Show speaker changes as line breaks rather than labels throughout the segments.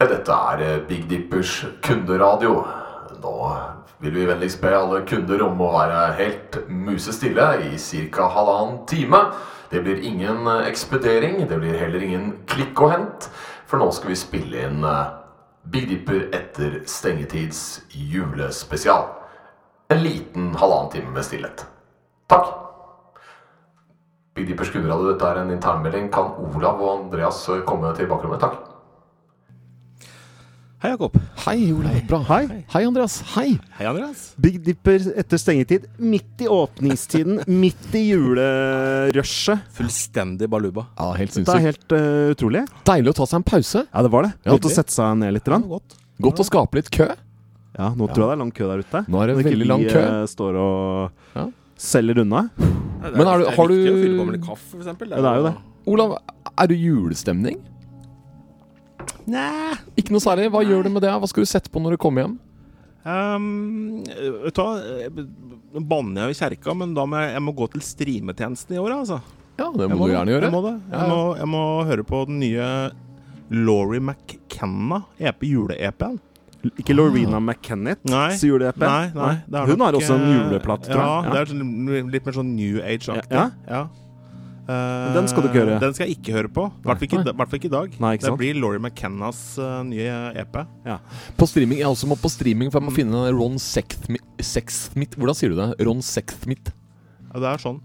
Dette er eh, Big Dippers kunderadio. Nå vil vi vennligst be alle kunder om å være helt musestille i ca. halvannen time. Det blir ingen eh, ekspedering, det blir heller ingen klikk og hent, for nå skal vi spille inn eh, Big Dipper etter stengetids julespesial. En liten halvannen time med stillhet. Takk. Big Dippers kunderadio, dette er en internmelding. Kan Olav og Andreas eh, komme til bakrommet? Takk.
Hei, Jakob.
Hei, Olav. Bra. Hei. Hei, Andreas. Hei.
Hei, Andreas.
Big Dipper etter stengetid. Midt i åpningstiden. midt i julerushet.
Fullstendig baluba.
Ja, helt
sinnssykt.
Det er helt eh, utrolig.
Deilig å ta seg en pause.
Ja, det var det.
Ja,
Godt å
det-
sette seg ned litt. Rann.
godt.
Godt å skape litt kø.
Ja, nå tror jeg det er lang kø der ute.
Nå er det
Når ikke
veldig lang
vi,
kø.
eh, står og
Ja.
selger unna.
Men
Men er du- har
Det er viktig å
du-
fylle på med litt kaffe, for eksempel.
Ja, det er jo det.
Olav, er du i julestemning?
Nei.
Ikke noe særlig. Hva gjør du med det? Hva skal du sette på når du kommer hjem?
Ehm, vet du hva, Jeg b- nå banner jeg jo i kjerka, men da må jeg, jeg må gå til streametjenesten i år, altså.
Ja, det
Jeg
må du
det.
gjerne gjøre.
Jeg må det.
Ja,
Jeg,
ja.
må, jeg må høre på den nye Laurie McKenna, E EP, jule-EP-en.
Ikke Lorena McKennett.
Nei.
Så jule-EP.
Nei, nei, det er
Hun
nok,
har også en
eh,
juleplate, tror
Ja,
jeg.
det er sånn- litt mer sånn new age-aktig.
Ja,
Ja. Eh,
Den skal du ikke høre.
Den skal jeg ikke høre på. I hvert fall ikke, i hvert fall ikke i dag.
Nei, ikke sant?
Det blir Laurie McKennas eh, nye EP.
På streaming. Jeg også må på streaming, for jeg må finne Ron Sexthmi- Sexsmith Hvordan sier du det? Ron Sexsmith
Ja, det er sånn.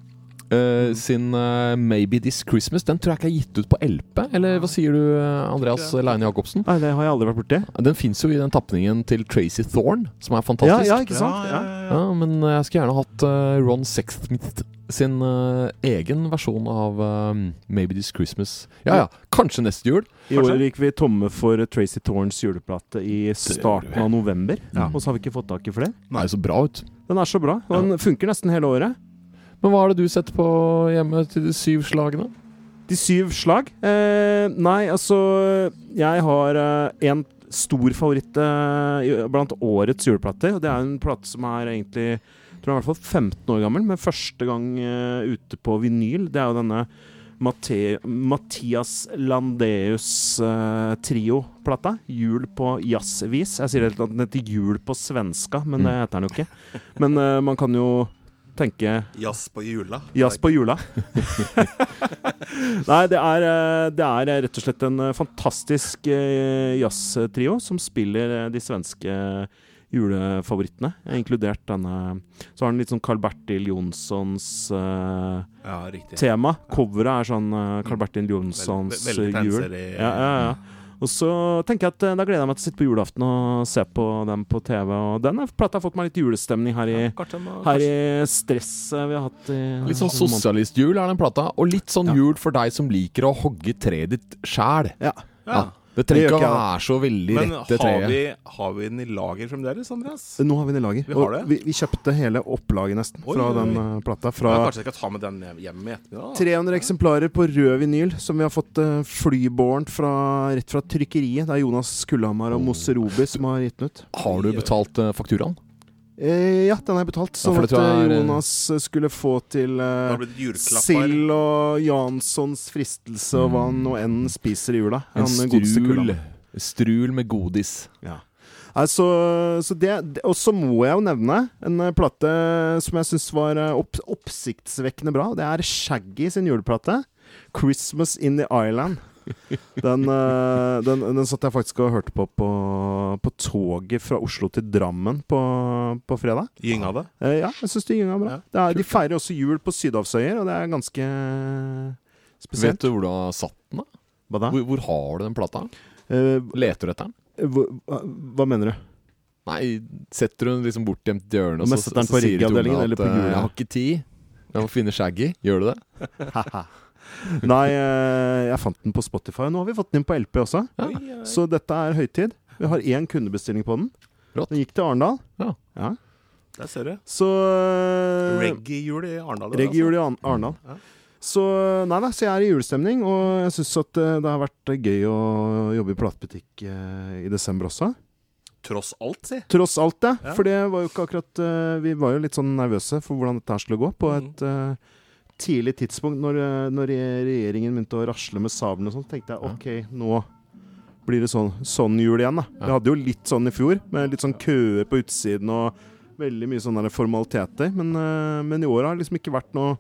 eh, sin eh, Maybe This Christmas. Den tror jeg ikke er gitt ut på LP. Eller hva sier du, eh, Andreas
Ikke det.
Leine Jacobsen?
Nei, det har jeg aldri vært borti.
Den fins jo i den tapningen til Tracy Thorne, som er
Ja,
fantastisk.
ja, ikke
Ja,
sant? Ja,
ja, ja.
Ja, men jeg skulle gjerne hatt eh, Ron Sexsmith sin eh, egen versjon av eh, Maybe This Christmas. Ja ja, kanskje neste jul.
I år gikk vi tomme for Tracy Thorns juleplate i starten av november.
Ja.
Og så har vi ikke fått tak i flere.
Det er jo så bra ut.
Den er så bra. Og den funker nesten hele året.
Men hva er det du setter på hjemme til de syv slagene?
De syv slag? Eh, nei, altså Jeg har eh, en stor favoritt eh, i- blant årets juleplater. Og det er en plate som er egentlig tror jeg er i hvert fall 15 år gammel, men første gang eh, ute på vinyl. Det er jo denne Mate Mathias Landeus-trio-plata. jul på jazzvis. Jeg sier helt at den heter Jul på svenska, men det heter den jo ikke. Men eh, man kan jo tenke
Jazz på jula.
Jazz på jula. Nei, det er, eh, det er rett og slett en eh, fantastisk eh, jazztrio som spiller eh, de svenske julefavorittene, eh, inkludert denne Så har den litt sånn Carl Bertil Jonssons eh,
Ja, riktig.
tema. Coveret er sånn eh, Carl Bertil Jonssons
Veld- veldig
eh, jul.
penselig.
Ja, ja, ja. Og så tenker jeg at eh, Da gleder jeg meg til å sitte på julaften og se på dem på TV. Og den eh, plata har fått meg litt julestemning her i,
Kanskje må-
her i stresset vi har hatt. I,
Litt sånn
måneden.
sosialistjul er den plata, og litt sånn
Ja.
jul for deg som liker å hogge treet ditt sjæl.
Ja.
Ja. Det
Det
trenger
gjør
ikke å
ikke
være så veldig
Men
rette
har
treet.
vi, har vi den i lager fremdeles, Andreas?
Nå har vi den i lager.
Vi
og
har det.
Vi, vi kjøpte hele opplaget nesten
Oi,
fra
oi, oi.
den eh, plata. Fra
Ja, kanskje jeg skal ta med den hjem i ettermiddag? da?
300 eksemplarer på rød vinyl som vi har fått uh, flybårent fra, rett fra trykkeriet. Det er Jonas Kullhamar og Mosse Robi som har gitt den ut.
Har du betalt eh, fakturaen?
Eh, ja, den er betalt. Sånn
for
at
det tror jeg
eh,
er, eh,
Jonas skulle få til
Da
eh,
blir det juleklapper.
sild og Janssons fristelse og hva han nå enn spiser i jula.
En
Han, eh, godeste Kullhamar.
strul. Strul med godis.
Nei, så, så det, det- og så må jeg jo nevne en eh, plate som jeg syns var eh, opp, oppsiktsvekkende bra. Det er Shaggy sin juleplate. 'Christmas in the Island'. Den, eh, den, den satt jeg faktisk og hørte på på, på toget fra Oslo til Drammen på, på fredag.
Gynga det.
Eh, ja, jeg syns de gynga bra.
Ja,
det er, de feirer også jul på Sydhavsøyer, og det er ganske
Vet
spesielt.
du hvor du har satt den? da?
Hva da?
Hvor, hvor har du den plata?
Eh,
Leter du etter den?
hvor, hva, hva mener du?
Nei, setter du den liksom bort gjemt til hjørnet, og så,
Mestet den
så
på
sier Tone
riggavdelingen
at
eller på
eh,
hjulet?
'jeg har ikke tid', jeg må finne Shaggy. Gjør du det?
Nei, eh, jeg fant den på Spotify. Nå har vi fått den inn på LP også.
Ja.
Oi, oi.
Så dette er høytid. Vi har én kundebestilling på den.
Rått.
Den gikk til Arendal.
Ja.
Der ser du.
Så
Reggae-jul i Arendal. der, altså.
Eh, Reggae-jul i Arn- Arendal.
Ja.
Så eh, nei da, så jeg er i julestemning, og jeg syns at eh, det har vært eh, gøy å jobbe i platebutikk eh, i desember også.
Tross alt, si.
Tross alt, det.
Ja.
For det var jo ikke akkurat eh, Vi var jo litt sånn nervøse for hvordan dette her skulle gå på
Mhm.
et eh, tidlig tidspunkt. Når, eh, når re- regjeringen begynte å rasle med sablene og sånn, tenkte jeg OK, nå blir det sånn, sånn jul igjen, da. Vi hadde jo litt sånn i fjor, med litt sånn køer på utsiden og veldig mye sånne der formaliteter. Men, eh, men i år har det liksom ikke vært noe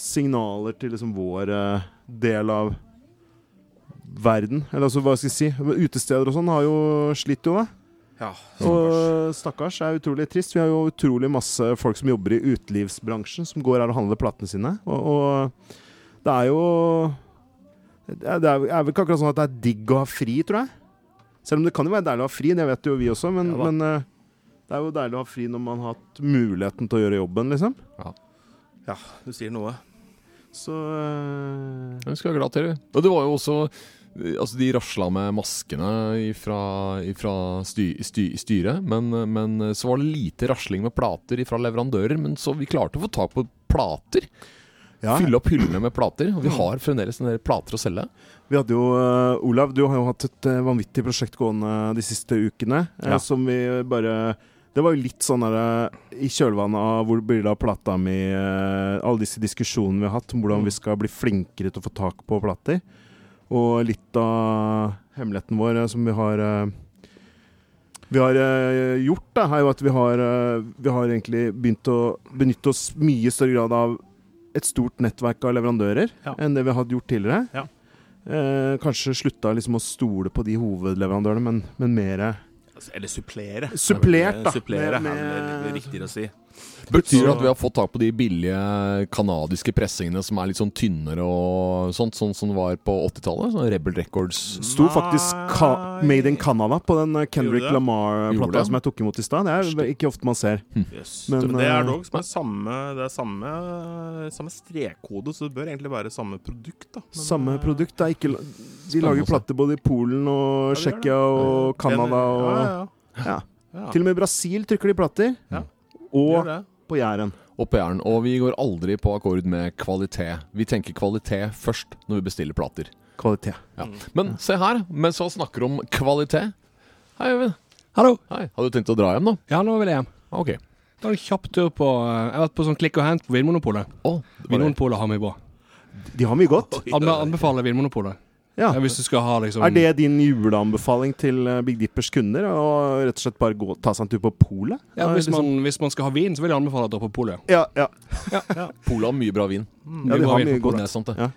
signaler til liksom vår eh, del av verden. Eller altså, hva skal jeg si? Utesteder og sånn har jo slitt jo, da.
Ja,
Og stakkars er utrolig trist. Vi har jo utrolig masse folk som jobber i utelivsbransjen, som går her og handler platene sine. Og, og det er jo Det er, det er vel ikke akkurat sånn at det er digg å ha fri, tror jeg. Selv om det kan jo være deilig å ha fri, det vet jo vi også, men,
Ja da.
men eh, det er jo deilig å ha fri når man har hatt muligheten til å gjøre jobben, liksom.
ja, du sier noe.
Så eh,
Jeg skal være glad til det. Og det var jo også Altså, de rasla med maskene fra sty, sty, styret, men, men så var det lite rasling med plater fra leverandører. Men så vi klarte å få tak på plater.
ja.
Fylle opp hyllene med plater. Og vi har fremdeles en del plater å selge.
Vi hadde jo, eh, Olav, du har jo hatt et eh, vanvittig prosjekt gående de siste ukene. eh,
Ja.
Som vi bare Det var jo litt sånn der, eh, i kjølvannet av hvor blir det av plata mi eh, Alle disse diskusjonene vi har hatt om hvordan vi skal bli flinkere til å få tak på plater. Og litt av hemmeligheten vår eh, som vi har eh, vi har eh, gjort, da, er jo at vi har, eh, vi har egentlig begynt å benytte oss mye større grad av et stort nettverk av leverandører
Ja.
enn det vi hadde gjort tidligere.
Ja.
Eh, kanskje slutta liksom å stole på de hovedleverandørene, men, men mer
Altså, Eller supplere. Eh,
Supplert, da.
Supplere
Med-
er vel
med-
riktigere å si.
Betyr det
Så-
at vi har fått tak på de billige kanadiske pressingene som er litt sånn tynnere og sånt, sånn som det var på 80-tallet? Sånn Rebel Records.
Sto faktisk ka
Nei.
Made in Canada på den eh, Kendrick
Gjorde det?
Gjorde
Lamar-plata
det?
som jeg tok imot i stad. Det er vel ikke ofte man ser.
Yes.
Men,
Men, det er
eh,
dog som er samme, det er samme, samme strekkode, så det bør egentlig være samme produkt. da. Men,
Samme
eh,
produkt. Det er ikke la de
Spennende
lager
å se.
plater både i Polen og
Ja, de gjør det.
Tsjekkia og Canada
den-
og
ja,
ja.
ja, ja.
Til og med i Brasil trykker de plater.
Ja. Gjør
Og
det.
på Jæren.
opp i æren, og vi går aldri på akkord med kvalitet. Vi tenker kvalitet først når vi bestiller plater.
Kvalitet.
Ja. Men se her, mens vi snakker om kvalitet Hei, Øyvind.
Hallo.
Hei. Hadde du tenkt å dra hjem, da?
Ja, nå vil jeg hjem.
Ok.
Ta en kjapp tur på eh, Jeg har vært på sånn klikk og hent på Vinmonopolet.
Å, det var det.
Vinmonopolet har mye bra.
De har mye godt.
Anbe anbefaler Vinmonopolet.
Ja.
Ja, hvis du skal ha liksom
Er det din juleanbefaling til eh, Big Dippers kunder? Å rett og slett bare gå, ta seg en tur på polet?
ja,
Ja,
hvis,
liksom-
man, hvis man skal ha vin, så vil jeg anbefale å dra på polet.
ja, ja.
Polet har mye bra vin.
Mm. ja, de
bra
har
vin på
mye
Men
godt.
Det er sant, det.
Ja.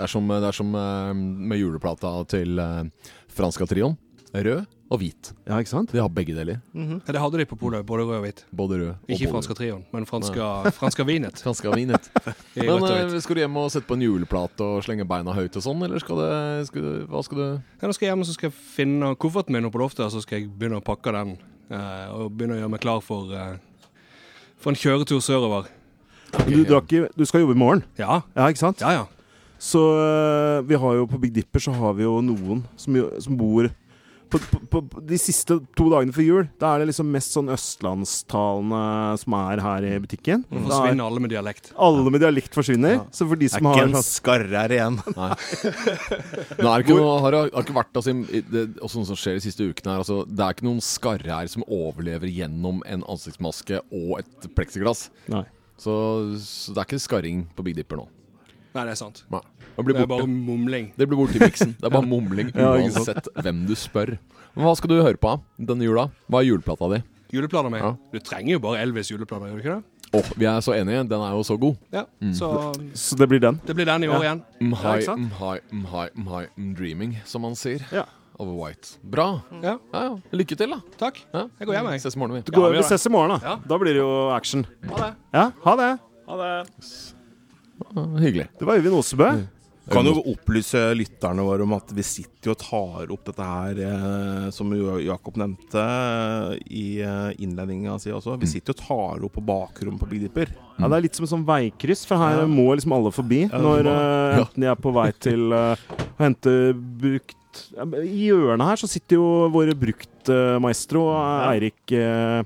Det er som, det er som eh, med juleplata til eh, franska trioen. Rød og hvit.
Ja, ikke sant?
De har begge deler.
Ja, det hadde de på polet, både rød og hvit.
Både rød og
Ikke
både-
franska trioen, men franska, franska vinet.
Franska vinet.
i
Men
rødt og
eh,
hvitt.
skal du hjem og sette på en juleplate og slenge beina høyt og sånn, eller skal det skal, du- Hva skal du
Ja, nå skal jeg hjem og så skal jeg finne kofferten min opp på loftet, og så skal jeg begynne å pakke den. eh, og begynne å gjøre meg klar for, eh, for en kjøretur sørover.
Du, drar ikke, du skal jobbe i morgen,
Ja,
ja, ikke sant?
ja, ja.
Så eh, vi har jo på Big Dipper så har vi jo noen som, jo- som bor på, på, på, på De siste to dagene før jul, da er det liksom mest sånn østlandstalende som er her i butikken.
Nå
Da er,
Mm. forsvinner alle med dialekt.
alle med dialekt forsvinner. Så for de
Det er
som har
ikke en
sånn
skarrer igjen.
Nå er det ikke noe, har, det- har ikke vært altså, i- det, også noe som skjer de siste ukene her. Altså, det er ikke noen skarre her som overlever gjennom en ansiktsmaske og et pleksiglass.
Nei.
Så, så det er ikke skarring på Big Dipper nå.
Nei, det er sant.
Nei. Det
Det
blir
er bare
borte.
mumling.
Det blir borte i miksen. Det er bare mumling
Ja, ikke sant.
uansett hvem du spør. Men hva skal du høre på denne jula? Hva er juleplata di?
Juleplaner med.
Ja.
Du trenger jo bare Elvis' juleplaner, gjør du ikke det?
Åh, vi er så enige. Den er jo så god.
Ja, Så
Så det blir den.
det blir den i år igjen.
Mhai,
ikke sant?
mhai, mhai, mhai, dreaming, som man sier.
Ja.
Over White. Bra.
Ja,
Ja, ja. Lykke til, da.
takk.
Ja.
Jeg går hjem, jeg.
Ses i morgen, vi.
Du går,
vi gjør
vi ses i morgen, da.
Ja.
Da blir det jo action.
Ha det.
Ja, ha det.
Ja, Hyggelig.
Det var Øyvind Osebø.
Kan jo opplyse lytterne våre om at vi sitter jo og tar opp dette her, eh, som jo Jakob nevnte eh, i eh, innledninga si også. Vi sitter jo og tar opp på bakrommet på Big Dipper.
Ja, Det er litt som et sånn veikryss, for her må liksom alle forbi.
det
Når
må.
eh,
Ja.
enten de er på vei til eh, å hente brukt ja, men I hjørnet her så sitter jo våre bruktmaestro, uh, Eirik eh,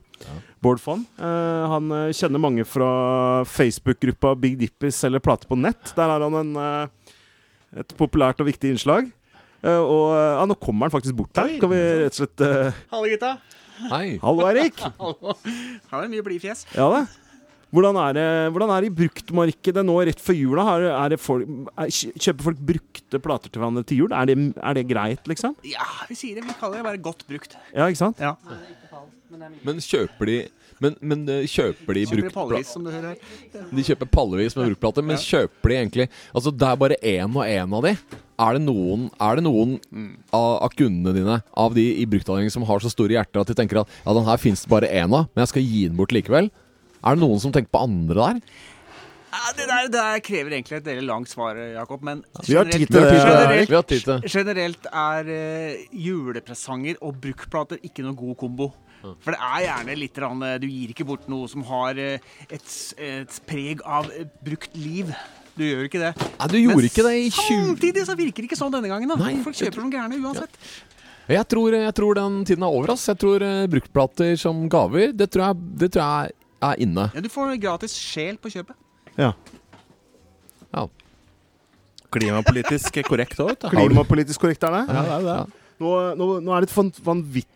Bård Fonn. Eh, han eh, kjenner mange fra Facebook-gruppa Big Dipper selger plater på nett. Der har han en, eh, et populært og viktig innslag. Eh, og eh, ja, nå kommer han faktisk bort her. Kan vi rett og slett eh,
Hallo, gutta.
Hei.
Hallo, Eirik!
Hallo. Her er det mye blidfjes.
Ja da. Hvordan er det, hvordan er det i bruktmarkedet nå rett før jula? Har, er det folk, er, kjøper folk brukte plater til hverandre til jul? Er det, er det greit, liksom?
Ja, vi sier det. Vi kaller det bare godt brukt.
Ja, ikke sant?
Ja.
Men kjøper de men, men eh, kjøper de
Kjøper
brukt
du pallvis, som du hører her?
De kjøper pallevis med bruktplater, men kjøper de egentlig Altså, det er bare én og én av de. Er det noen, er det noen av, av kundene dine av de i bruktavdelingen som har så store hjerter at de tenker at ja, den her fins det bare én av, men jeg skal gi den bort likevel? Er det noen som tenker på andre der?
Ja, det, der, det der krever egentlig et veldig langt svar, Jakob. Men
Vi har tid til
generelt-
det,
generelt-
Vi har tid til det.
Generelt er eh, julepresanger og bruktplater ikke noen god kombo. For det er gjerne litt rann, eh, Du gir ikke bort noe som har eh, et, s- et preg av eh, brukt liv. Du gjør ikke det.
Nei, du gjorde
Men
ikke det i 20...
Samtidig så virker det ikke sånn denne gangen. da
Nei,
Folk
jeg
kjøper noen gærne uansett.
Jeg tror, jeg tror den tiden er over, ass. Jeg tror eh, bruktplater som gaver, det tror jeg, det tror jeg er inne.
Ja, Du får gratis sjel på kjøpet.
Ja.
Ja.
Klimapolitisk korrekt òg, vet du.
Klimapolitisk korrekt er det.
Ja, det er det.
Nå, nå, nå er det et fan- vanvittig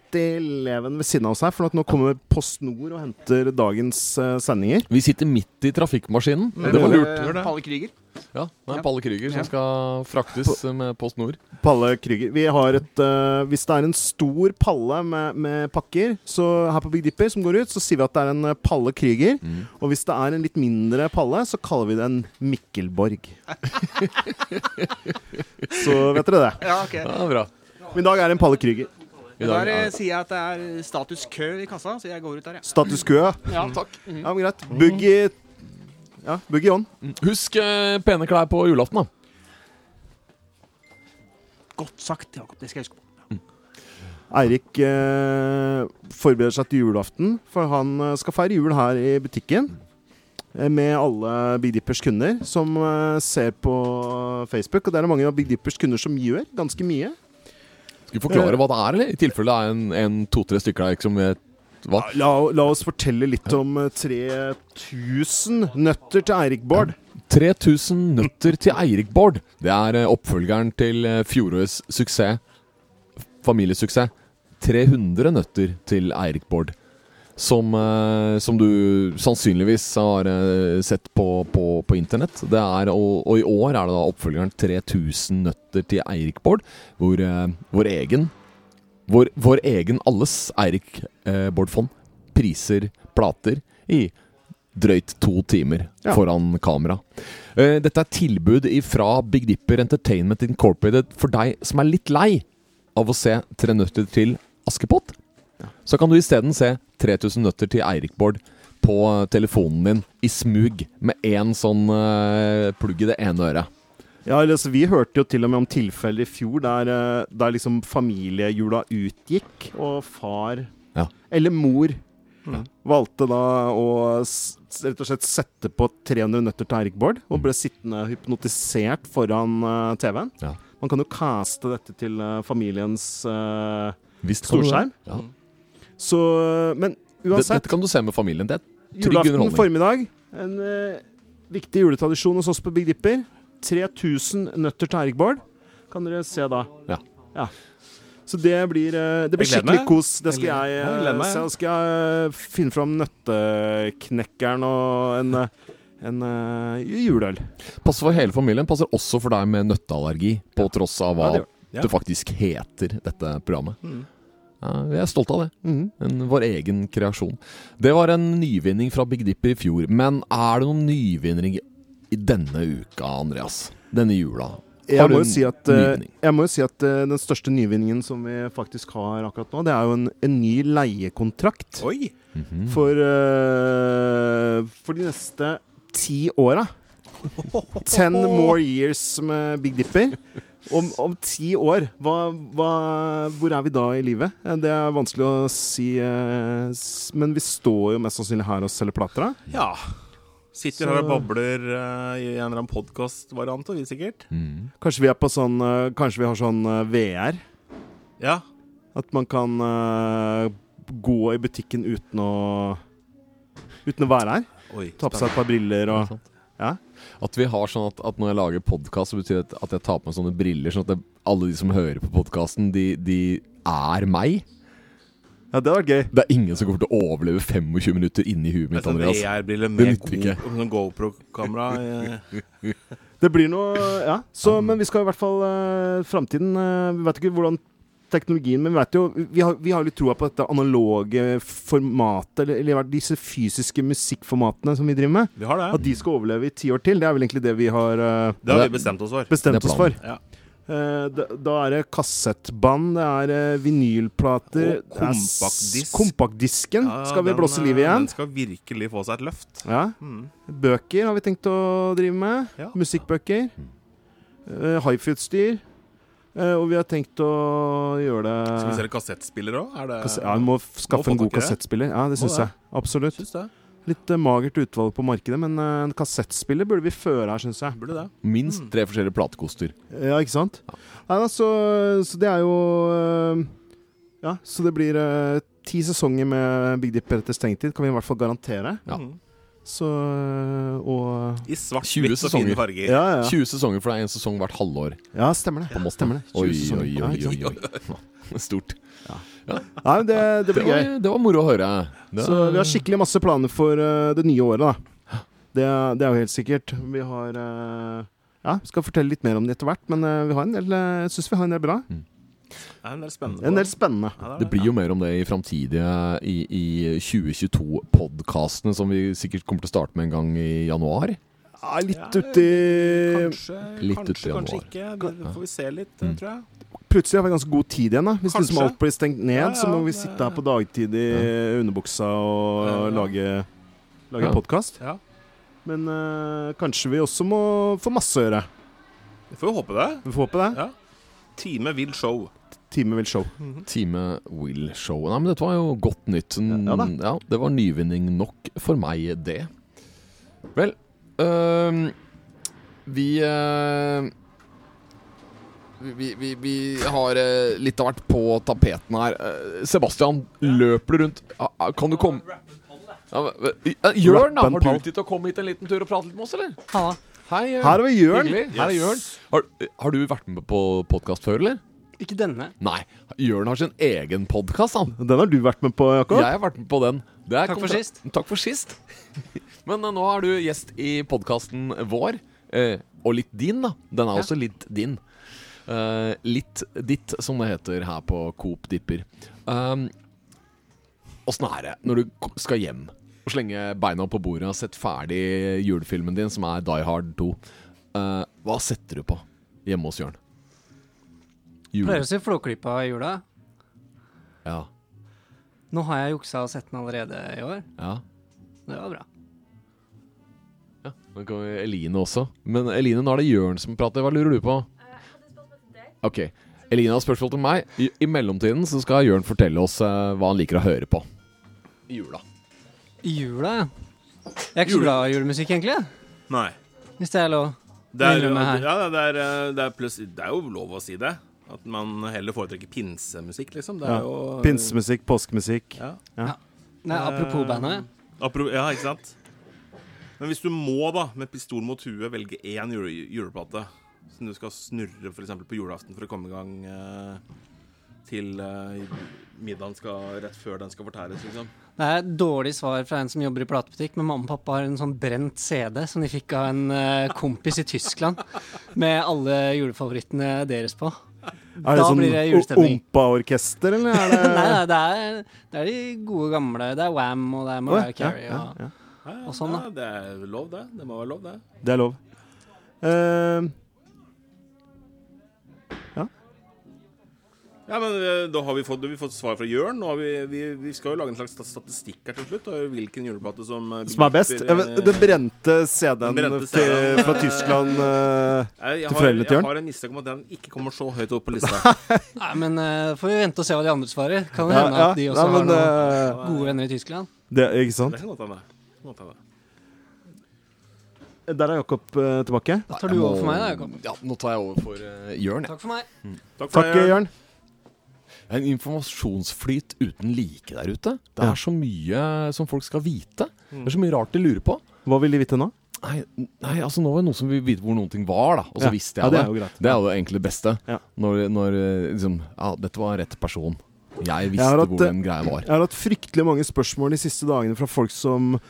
leven ved siden av oss her, for at nå kommer Post Nord og henter dagens eh, sendinger.
Vi sitter midt i trafikkmaskinen.
Men,
Det var lurt.
eh, Palle Krüger.
Ja, det
Ja.
er Palle Krüger
Ja.
som skal fraktes med Post Nord.
Palle Krüger. Vi har et eh, Hvis det er en stor palle med, med pakker så her på Big Dipper som går ut, så sier vi at det er en eh, Palle Krüger. Og hvis det er en litt mindre palle, så kaller vi det en Mikkelborg. så vet dere det.
Ja, ok.
Ja, bra.
Men i dag er det en Palle Krüger.
I dag,
Der eh,
ja.
sier jeg at det er status kø i kassa, så jeg går ut der, jeg.
Status quo.
Ja, takk. Mm.
Ja, men greit. Boogie Ja, boogie on.
Husk eh, pene klær på julaften, da.
Godt sagt, Jakob. Det skal jeg huske på.
Eirik eh, forbereder seg til julaften, for han eh, skal feire jul her i butikken. eh, Med alle Big Dippers kunder som eh, ser på Facebook. Og det er det mange av Big Dippers kunder som gjør. Ganske mye.
Skal vi forklare hva det er, eller? I tilfelle det er en, en to-tre stykker der som vet hva.
La, la oss fortelle litt om eh, 3000 nøtter til Eirik Bård.
3000 nøtter til Eirik Bård. Det er eh, oppfølgeren til eh, fjorårets suksess. Familiesuksess. 300 nøtter til Eirik Bård. Som, eh, som du sannsynligvis har eh, sett på, på, på internett. Det er, og, og i år er det da oppfølgeren 3000 nøtter til Eirik Bård. Hvor eh, vår egen vår, vår egen alles Eirik eh, Bård Fond priser plater i drøyt to timer
Ja.
foran kamera. Eh, dette er tilbud fra Big Dipper Entertainment Incorporated for deg som er litt lei av å se Tre nøtter til Askepott. Så kan du isteden se 3000 nøtter til Eirik Bård på eh, telefonen din i smug med én sånn eh, plugg i det ene øret.
Ja, eller, altså, Vi hørte jo til og med om tilfeller i fjor der, eh, der liksom familiejula utgikk, og far
Ja.
eller mor valgte da å s- rett og slett sette på 300 nøtter til Eirik Bård,
Mm.
og ble sittende hypnotisert foran eh, TV-en.
Ja.
Man kan jo caste dette til eh, familiens eh,
Visst kan du det.
Storskjerm?
Ja.
Så Men
Dette,
uansett,
dette kan du se med familien. Det er trygg
julaften
underholdning.
formiddag, en eh, viktig juletradisjon hos oss på Big Dipper. 3000 nøtter til Eirik Bård kan dere se da.
Ja.
Så det blir, eh, det blir
Jeg gleder
skikkelig
meg.
kos. Det skal
Jeg gleder-
jeg,
jeg
eh,
gleder meg,
se.
ja.
Da skal jeg eh, finne fram nøtteknekkeren og en, eh, en eh, juleøl.
Passer for hele familien, passer også for deg med nøtteallergi, på tross av hva
Ja, Mm. det
det,
gjør
Ja.
faktisk heter, dette programmet. Ja, vi er stolte av det.
Mm.
En, vår egen kreasjon. Det var en nyvinning fra Big Dipper i fjor, men er det noen nyvinning i denne uka, Andreas? Denne jula?
Jeg
du
må, jo
en
si at, eh,
nyvinning?
jeg må jo si at eh, den største nyvinningen som vi faktisk har akkurat nå, det er jo en, en ny leiekontrakt
Oi!
for, eh, for de neste ti åra. Ten more years med Big Dipper. Om, om ti år, hva, hva, hvor er vi da i livet? Eh, Det er vanskelig å si, eh, s- men vi står jo mest sannsynlig her og selger plater. da.
Ja. Sitter her og babler eh, i en eller annen podkastvariant, og vi sikkert.
Mm. Kanskje vi er på sånn eh, Kanskje vi har sånn eh, VR?
Ja.
At man kan eh, gå i butikken uten å Uten å være her.
Oi.
Ta på seg et par briller og
At vi har sånn at, at når jeg lager podkast, så betyr det at- at jeg tar på meg sånne briller, sånn at det, alle de som hører på podkasten, de, de er meg.
Ja, det hadde vært gøy.
Det er ingen som kommer til å overleve 25 minutter inni huet mitt,
Altså,
Andreas.
AR-briller
Det
med
nytter ikke.
go- sånn GoPro-kamera. eh.
Det blir noe Ja. Så, men vi skal i hvert fall uh, Framtiden eh, Vi vet ikke hvordan teknologien Men vi vet jo Vi har, vi har litt troa på dette analoge formatet, eller, eller disse fysiske musikkformatene som vi driver med.
Vi har det.
At de skal overleve i ti år til, det er vel egentlig det vi har eh,
Det har vi bestemt oss for.
bestemt
Det er
oss for.
planen.
Eh, da, da er det kassettbånd, det er eh, vinylplater
Og
det er s-
kompaktdisk.
Kompaktdisken
Ja,
skal vi
den,
blåse liv i
eh,
igjen.
Den skal virkelig få seg et løft.
Ja. Bøker har vi tenkt å drive med.
Mm. Ja.
Musikkbøker. Uh, Hifi-utstyr. Eh, og vi har tenkt å gjøre det
Skal vi selge kassettspillere òg? Er det
Kasse- Ja, vi må f- skaffe
få
en god
tak i det.
kassettspiller. Ja, det
Må
syns
det.
jeg. Absolutt.
Syns det.
Litt eh, magert utvalg på markedet, men eh, en kassettspiller burde vi føre her, syns jeg.
Burde det.
Mm.
Minst tre forskjellige platekoster.
Ja, ikke sant? Nei, da, så, så det er jo øh, Ja, så det blir øh, ti sesonger med Big Dipper etter stengtid, kan vi i hvert fall garantere.
Ja.
Mhm.
Så øh, Og
I svart,
20
hvitt og fine
sesonger.
farger.
Ja, ja, ja.
20 sesonger, for det er en sesong hvert halvår.
ja stemmer det.
på en måte.
Stemmer det.
Oi,
20
oi,
sesonger. Ja,
oi,
ikke sant?
oi. oi. Stort.
Nei, men det, det
Det
blir gøy.
var, det var moro å høre. Det,
Så vi har skikkelig masse planer for øh, det nye året, da. Det, det er jo helt sikkert. Vi har øh, Ja, skal fortelle litt mer om det etter hvert, men øh, vi har en del, øh, jeg syns vi har en del bra.
Det er en del spennende.
En del spennende.
det blir jo mer om det i framtidige i, i 2022-podkastene, som vi sikkert kommer til å starte med en gang i januar.
Ja, litt uti Mm.
Kanskje,
Litt ut i
kanskje, kanskje
januar.
ikke. Det får vi se litt, eh, tror jeg.
plutselig har vi ganske god tid igjen. da Hvis
Kanskje.
liksom alt blir stengt ned,
Ja, ja,
så må vi
det-
sitte her på dagtid i underbuksa og
Ja, ja.
lage, lage
Ja.
podkast.
Ja.
Men eh, kanskje vi også må få masse å gjøre.
Vi får jo håpe det.
Vi får håpe det.
Ja. Time vill show.
Time will show.
Time Will Show. Nei, men dette var jo godt nytt. N-
Ja da.
ja, det var nyvinning nok for meg, det. Vel øhm, Vi øh, vi, vi, vi har øh, litt av hvert på tapeten her. Eh, Sebastian, løper du rundt? Ah, ah, Kan du komme ja, men- eh, Jørn, da,
Rappen
har du
pall.
tid til å komme hit en liten tur og prate litt med oss, eller?
Ja.
Hei, Jørn.
Her har vi Jørn.
Hyggelig. Her er Jørn. Har, har du vært med på podkast før, eller?
Ikke denne.
Nei. Jørn har sin egen podkast, han.
Den har du vært med på, Jakob.
Jeg har vært med på den. Det er
Takk for
kontra-
sist.
Takk for sist. Men eh, nå er du gjest i podkasten vår, eh, og litt din, da. Den er
Ja.
også litt din. Eh, litt ditt, som det heter her på Coop Dipper. Um, Åssen er det når du ko- skal hjem og slenge beina på bordet og har sett ferdig julefilmen din, som er Die Hard 2? Eh, hva setter du på hjemme hos Jørn? Jule-
Pleier å se Flåklypa i jula.
Ja.
Nå har jeg juksa og sett den allerede i år.
ja.
Det var bra.
Ja, Nå kommer Eline også. Men Eline, nå er det Jørn som prater. Hva lurer du på? Ok, Eline har spørsmål til meg. I, i mellomtiden så skal Jørn fortelle oss eh, hva han liker å høre på. I jula.
I jula, ja. Jeg er ikke så
Jule-
glad i julemusikk, egentlig.
Nei.
Hvis det er lov.
Det er,
Innrømme her.
ja, det, er, eh, det, er pluss, det er jo lov å si det. At man heller foretrekker pinsemusikk, liksom. Det er
Ja.
jo
Pinsemusikk, påskemusikk.
Ja.
Nei, apropos
Eh,
bandet.
Apro ja, ikke sant? Men hvis du må, da, med pistol mot huet, velge én jule juleplate som du skal snurre for eksempel på julaften for å komme i gang eh, til eh, middagen skal rett før den skal fortæres, liksom.
Det er et dårlig svar fra en som jobber i platebutikk, men mamma og pappa har en sånn brent CD som de fikk av en eh, kompis i Tyskland, med alle julefavorittene deres på.
Er det
Da
sånn
blir det julestemning.
ompa-orkester, eller er det
Nei, nei, det er, det er de gode gamle. Det er Wam og det er
Å, ja,
Mariah Carey.
ja,
og-
ja,
Ja, ja,
Og sånn, da.
ja, Det er lov, det. Det må være lov, det.
ja. Det er lov. Eh,
Ja, men eh, da har vi fått, vi har fått svar fra Jørn. Nå har vi, vi, vi skal jo lage en slags stat- statistikk her til slutt. Og hvilken juleplate som eh,
som er best?
blir-
Ja, men Den brente CD-en
Den brente
til-
CD-en.
fra Tyskland. eh,
Jeg, jeg,
til
har,
foreldre til
jeg
Jørn?
har en mistanke om at den ikke kommer så høyt opp på lista.
Nei, men eh, får vi vente og se hva de andre svarer. Kan det
ja,
hende
ja,
at de også
nei, men,
har noen
eh,
gode venner i Tyskland?
det, Ikke sant?
Det kan godt hende. Det kan godt hende.
Der er Jakob eh, tilbake.
Da tar
Jeg
du
må-
over for meg, da, Jakob.
Ja, nå tar jeg over for eh, Jørn. jeg.
Takk for meg.
Takk for
Takk,
det, Jørn.
Jørn.
En informasjonsflyt uten like der ute. Det
Ja. Mm.
er så mye eh, som folk skal vite. Det er så mye rart de lurer på.
Hva vil de vite nå?
Nei, nei, altså nå var det noen som ville vite hvor noen ting var, da. Og så
Ja.
visste
Ja,
jeg
det er
det.
jo greit.
det er jo egentlig det beste.
Ja.
Når, når eh, liksom Ja, dette var rett person. Jeg
Jeg har
visste
hatt, Eh.
hvor den greia var.
Jeg har hatt fryktelig mange spørsmål de siste dagene fra folk som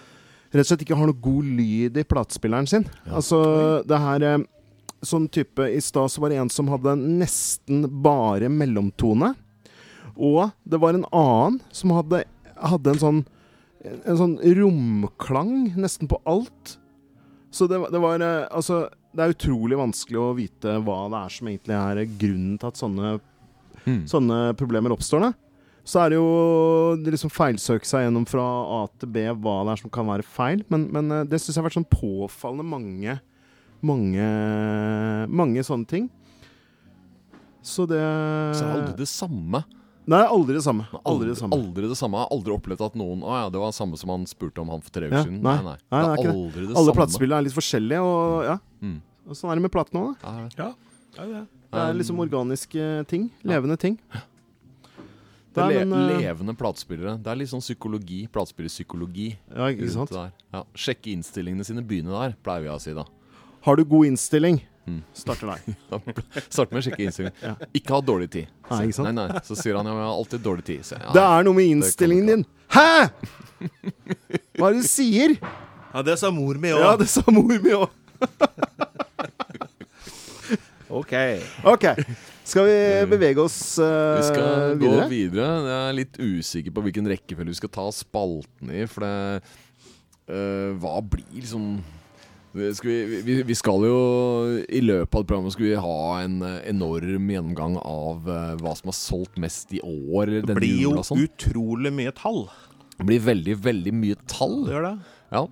rett og slett ikke har noe god lyd i platespilleren sin. Altså, det her eh, Sånn type I stad så var det en som hadde nesten bare mellomtone. Og det var en annen som hadde, hadde en sånn En sånn romklang nesten på alt. Så det, var- det var eh, Altså, det er utrolig vanskelig å vite hva det er som egentlig er eh, grunnen til at sånne,
Mm.
sånne problemer oppstår. Da så er det jo det liksom feilsøke seg gjennom fra A til B hva det er som kan være feil. Men, men eh, det syns jeg har vært sånn påfallende mange, mange, mange sånne ting. Så det
Så det er aldri det samme.
Nei, aldri det samme. Aldri det
Aldri,
samme.
aldri det samme. Jeg har aldri opplevd at noen Å ja, det var det samme som han spurte om han for tre uker
Ja,
siden.
nei.
nei.
Nei, det er
det
ikke
er
det.
aldri det
Alle
samme.
platespill er litt forskjellige, og ja.
Mm.
Og sånn er det med platene òg, da.
Ja, det er det.
Det er liksom organiske ting. Levende ting.
Det
Nei,
er le
men, eh,
levende platespillere. Det er litt sånn psykologi. Platespillerpsykologi.
Ja, ikke
rundt
sant?
det der. Ja. Sjekke innstillingene sine, begynne der, pleier vi å si da.
Har du god innstilling,
Mm.
starter der.
Start med å sjekke innstillingene. Ikke ha dårlig tid.
Nei, ikke sant?
Nei, nei. Så sier han ja, men jeg har alltid dårlig tid. Så, jeg,
Det
ja,
er noe med
det kan
innstillingen din. Hæ?! Hva er det du sier?
Ja, det sa mor mi
Ja,
òg.
det sa mor mi òg.
OK.
Ok. Skal vi bevege oss eh,
vi skal
videre?
gå videre. Jeg er litt usikker på hvilken rekkefølge vi skal ta spalten i, for det eh, Hva blir liksom skal vi, vi, vi skal jo I løpet av programmet skal vi ha en eh, enorm gjennomgang av eh, hva som har solgt mest i år.
Det
denne
blir jo
jula og sånn.
utrolig mye tall.
Det blir veldig, veldig mye tall.
Det gjør det.
Ja.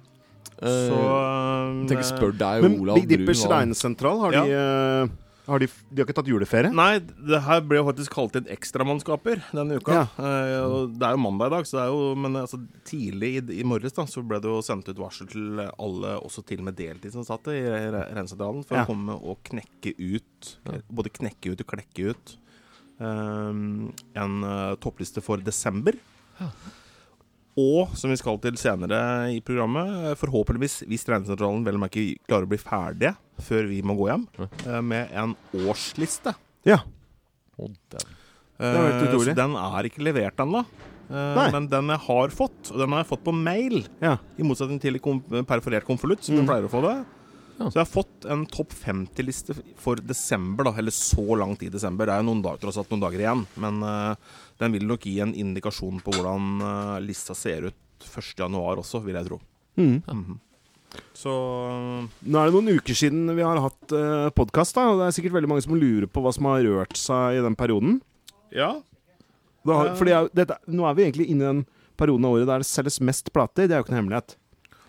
Så eh,
Så Tenker spør deg,
Men
Olav
Big Dippers
hva-
regnesentral, har, de, eh, har de De har ikke tatt juleferie?
Nei, det her ble jo faktisk kalt inn ekstramannskaper denne uka.
Ja.
Eh, og det er jo mandag i dag, så det er jo, men altså, tidlig i, i morges da, så ble det jo sendt ut varsel til alle, også til og med deltidsansatte i re- rensesentralen, for
Ja.
å komme og knekke ut, både knekke ut og klekke ut, eh, en eh, toppliste for desember. Og som vi skal til senere i programmet, forhåpentligvis, hvis regnesentralen vel å merke klarer å bli ferdige før vi må gå hjem, eh, med en årsliste.
Ja.
Å, dæven.
Det
var helt utrolig.
Eh, Så den er ikke levert ennå. Eh,
Nei.
Men den jeg har fått, og den har jeg fått på mail,
ja.
i motsetning til i kom- perforert konvolutt,
Mm.
som du pleier å få det.
Ja.
Så jeg har fått en topp 50-liste for desember, da, eller så langt i desember. Det er jo noen dager, tross alt noen dager igjen, men eh, den vil nok gi en indikasjon på hvordan eh, lista ser ut 1.1 også, vil jeg tro.
Mm.
Mhm. Så
Nå er det noen uker siden vi har hatt uh, podkast, og det er sikkert veldig mange som lurer på hva som har rørt seg i den perioden.
eh, ja.
Da, har-
Ja.
fordi jeg, dette, nå er vi egentlig inne i den perioden av året der det selges mest plater. Det er jo ikke noe hemmelighet.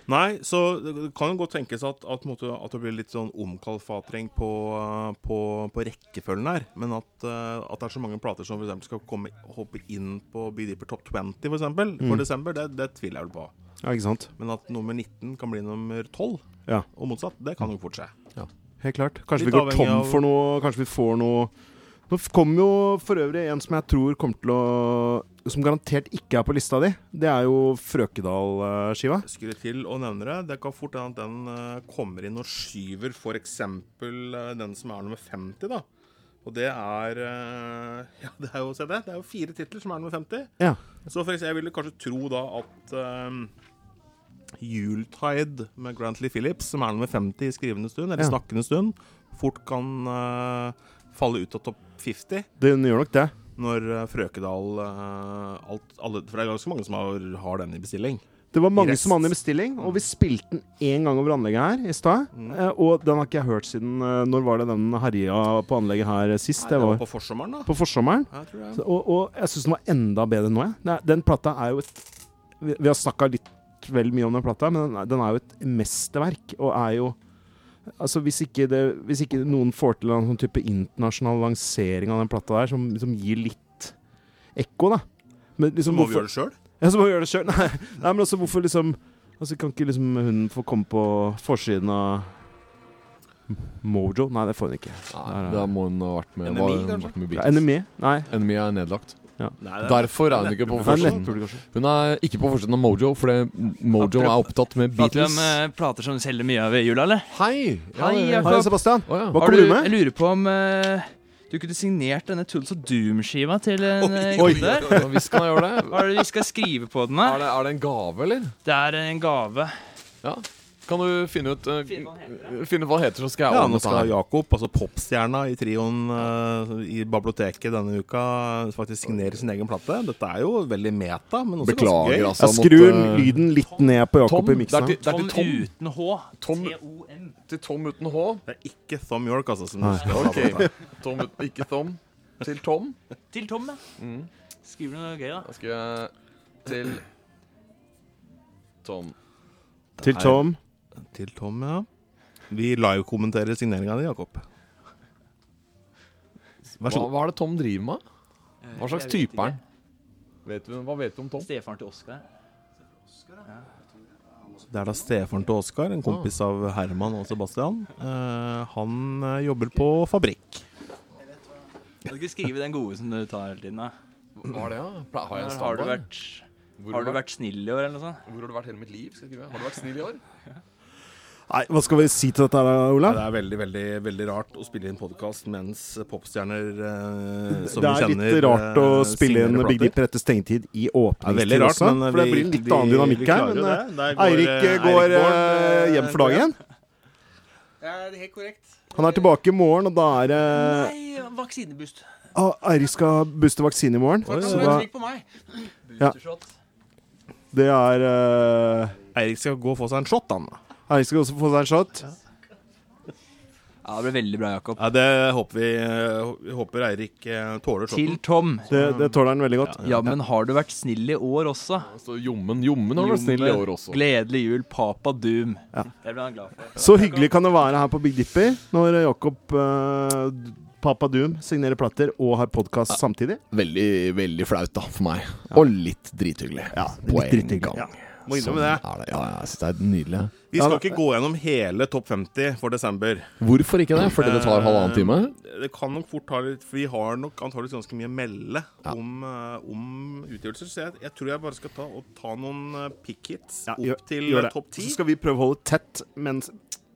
Nei, så det kan jo godt tenkes at, at, på en måte, at det blir litt sånn omkalfatring på, eh, på, på rekkefølgen her. Men at, eh, at det er så mange plater som for eksempel skal komme, hoppe inn på Big Dipper Top 20 for, eksempel, for desember, det, det tviler jeg vel på.
Ja, ikke sant?
Men at nummer 19 kan bli nummer 12,
Ja.
og motsatt, det kan jo fort skje.
Helt klart. Kanskje
Litt
vi går
avhengig
tom
av-
for noe, kanskje vi får noe Nå f- kommer jo for øvrig en som jeg tror kommer til å Som garantert ikke er på lista di. Det er jo eh, Frøkedal-skiva.
Jeg skulle til å nevne det. Det kan fort hende at den eh, kommer inn og skyver f.eks. den som er nummer 50, da. Og det er eh, Ja, det er jo, se det. Det er jo fire titler som er nummer 50.
Ja.
Så for eksempel, jeg ville kanskje tro da at ehm, Yuletide med Grantley Phillips, som er nummer 50 i skrivende stund, eller
Ja.
snakkende stund, fort kan eh, falle ut av topp 50
Den gjør nok det.
når eh, Frøkedal eh, alt, alle, For det er ganske mange som har, har den i bestilling.
Det var mange
Rest.
som hadde den i bestilling, og vi spilte den én gang over anlegget her i stad.
Mm.
Eh, Og den har ikke jeg hørt siden eh, Når var det den herja på anlegget her eh, sist?
Nei,
det var
på forsommeren, da.
på forsommeren.
Ja, tror jeg.
Så- Og, og jeg syns den var enda bedre nå, jeg. Det er- Den plata er jo et Vi, vi har snakka litt vel mye om den plata, men den er, den er jo et mesterverk, og er jo Altså hvis ikke, det, hvis ikke noen får til en sånn type internasjonal lansering av den plata der, som, som gir litt ekko, da men liksom,
Så må vi
hvorfor-
gjøre det sjøl.
ja, så må vi gjøre det sjøl. Nei. Nei, men altså, hvorfor liksom Altså, Kan ikke liksom hun få komme på forsiden av Mojo? Nei, det får hun ikke.
Nei, da må hun ha vært med
NME,
hva- hun
kanskje?
vært med
Det
Beatles.
er NME? Nei.
NME er nedlagt.
Nei, det er-
Derfor er hun ikke på
Det er
forsiden.
nettpublikasjon.
Hun er ikke på forsiden av Mojo, fordi Mojo er opptatt med
Prater vi
Beatles.
om eh, plater som selger mye av jula, eller?
Hei! Ja,
Hei,
det-
jeg-
Hei, Sebastian.
Å, ja.
Hva
Har
kommer du
du, jeg
med?
lurer på om eh,
Du kunne signert denne Tools og Doom-skiva til en eh,
Oi,
kunde.
ja, Hvis kan jeg gjøre det.
Hva er det vi skal skrive på den?
Er
her?
det, er det en gave, eller?
Det er en gave.
Ja. Kan du finne ut eh,
Finne hva den
Finne ut hva den heter, så skal jeg
Ja,
ordne
nå
dette
skal
her.
Jakob, altså popstjerna i trioen eh, i Babloteket denne uka, faktisk signere sin egen plate. Dette er jo veldig meta, men også
Beklager,
ganske gøy.
altså.
Jeg skru
eh,
måtte-
lyden litt ned på
Tom,
Jakob i
det er
miksen.
til, det er
Tom
til Tom,
uten H.
Tom-
T-O-M.
til Tom uten H.
Det er ikke Thom York, altså. Som du skal
Ok.
ha på dette.
Tom uten, ikke Tom. Til Tom.
Til Tom, ja.
Mm.
Skriver du noe gøy, da?
Da skal jeg til Tom.
Til Tom.
Til Tom, ja. Vi livekommenterer signeringa di, Jakob. Vær
Hva,
så god.
hva er det Tom driver med? Hva slags type er han? Vet du- Hva vet du om Tom?
Stefaren til Oskar.
Det er da stefaren til Oskar, en kompis av Herman og Sebastian. Eh, han eh, jobber på fabrikk.
Kan du ikke skrive den gode som du tar hele tiden? da?
Hva er det, ja? Pla- Har jeg en
Her Har du
standard?
vært,
Hvor
har du vært snill i år, eller noe sånt?
Hvor har du vært hele mitt liv? Skal jeg skrive. Har du vært snill i år?
Nei, hva skal vi si til dette, da, Olav?
Det er veldig, veldig veldig rart å spille inn podkast mens popstjerner eh, som vi
Det er
kjenner
litt rart å
eh,
spille inn
signerer
Big
plater.
Dip etter stengetid i
Det er veldig
åpningstid
rart,
også.
men eh,
For det blir litt annen dynamikk her. Men eh, Eirik eh, går eh, hjem for dagen.
Det er helt korrekt.
Han er tilbake i morgen, og da er det
Eh.
Nei, vaksinebust.
Ah, Eirik skal booste vaksine i morgen.
Oi,
Så
oi,
da,
Trykk på meg.
Boostershot.
det er eh,
Eirik skal gå og få seg en shot, han.
Eirik skal også få seg en shot.
Ja, det ble veldig bra, Jakob.
Ja, det håper vi. eh, vi håper Eirik eh, tåler
Til
shoten.
Tom.
Det, det tåler han veldig godt.
Ja, men har du vært snill i år også?
Altså, Jommen Jommen har vært snill i år også.
Gledelig jul, Papa Doom. Det ble han glad for.
Så hyggelig kan det være her på Big Dipper når Jakob eh, Papa Doom signerer plater og har podkast samtidig.
Veldig, veldig flaut, da, for meg. Og litt drithyggelig. Ja,
litt drithyggelig, ja.
Må
Sånn
innrømme det.
er det. Ja, ja, jeg synes det er nydelig.
Vi skal ikke gå gjennom hele topp 50 for desember.
Hvorfor ikke det? Fordi det
Eh,
tar halvannen time?
Det kan nok fort ta litt For vi har nok antakeligvis ganske mye å melde om, eh, om utgivelser. Så jeg, jeg tror jeg bare skal ta, og ta noen eh, pick hits
Ja,
opp
gjør-
til
gjør
eh,
det.
topp ti.
Så skal vi prøve å holde tett, men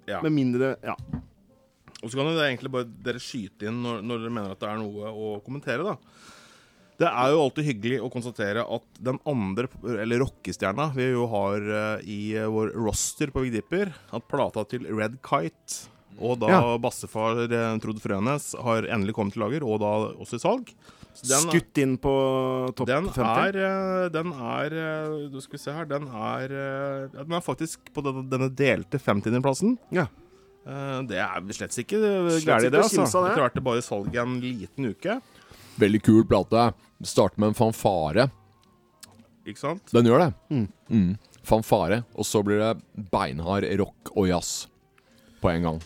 Ja.
med mindre Ja.
Og så kan dere egentlig bare dere skyte inn når, når dere mener at det er noe å kommentere, da. Det er jo alltid hyggelig å konstatere at den andre, eller rockestjerna, vi jo har eh, i vår roster på Big Dipper, at plata til Red Kite og da
Ja.
bassefar eh, Trond Frønes har endelig kommet til lager, og da også i salg. Så den-
Skutt inn på topp
den
50.
er, eh, den er eh, Nå skal vi se her. Den er, eh, ja, den er faktisk på denne, denne delte 50.-plassen.
Ja.
Det er vel slett ikke
Slett
gærent,
ikke
det.
å
altså.
kimse av det.
Etter hvert er det bare salg i en liten uke.
Veldig kul plate. Starter med en fanfare.
Ikke sant?
Den gjør det. Mm. Fanfare. Og så blir det beinhard rock og jazz på en gang.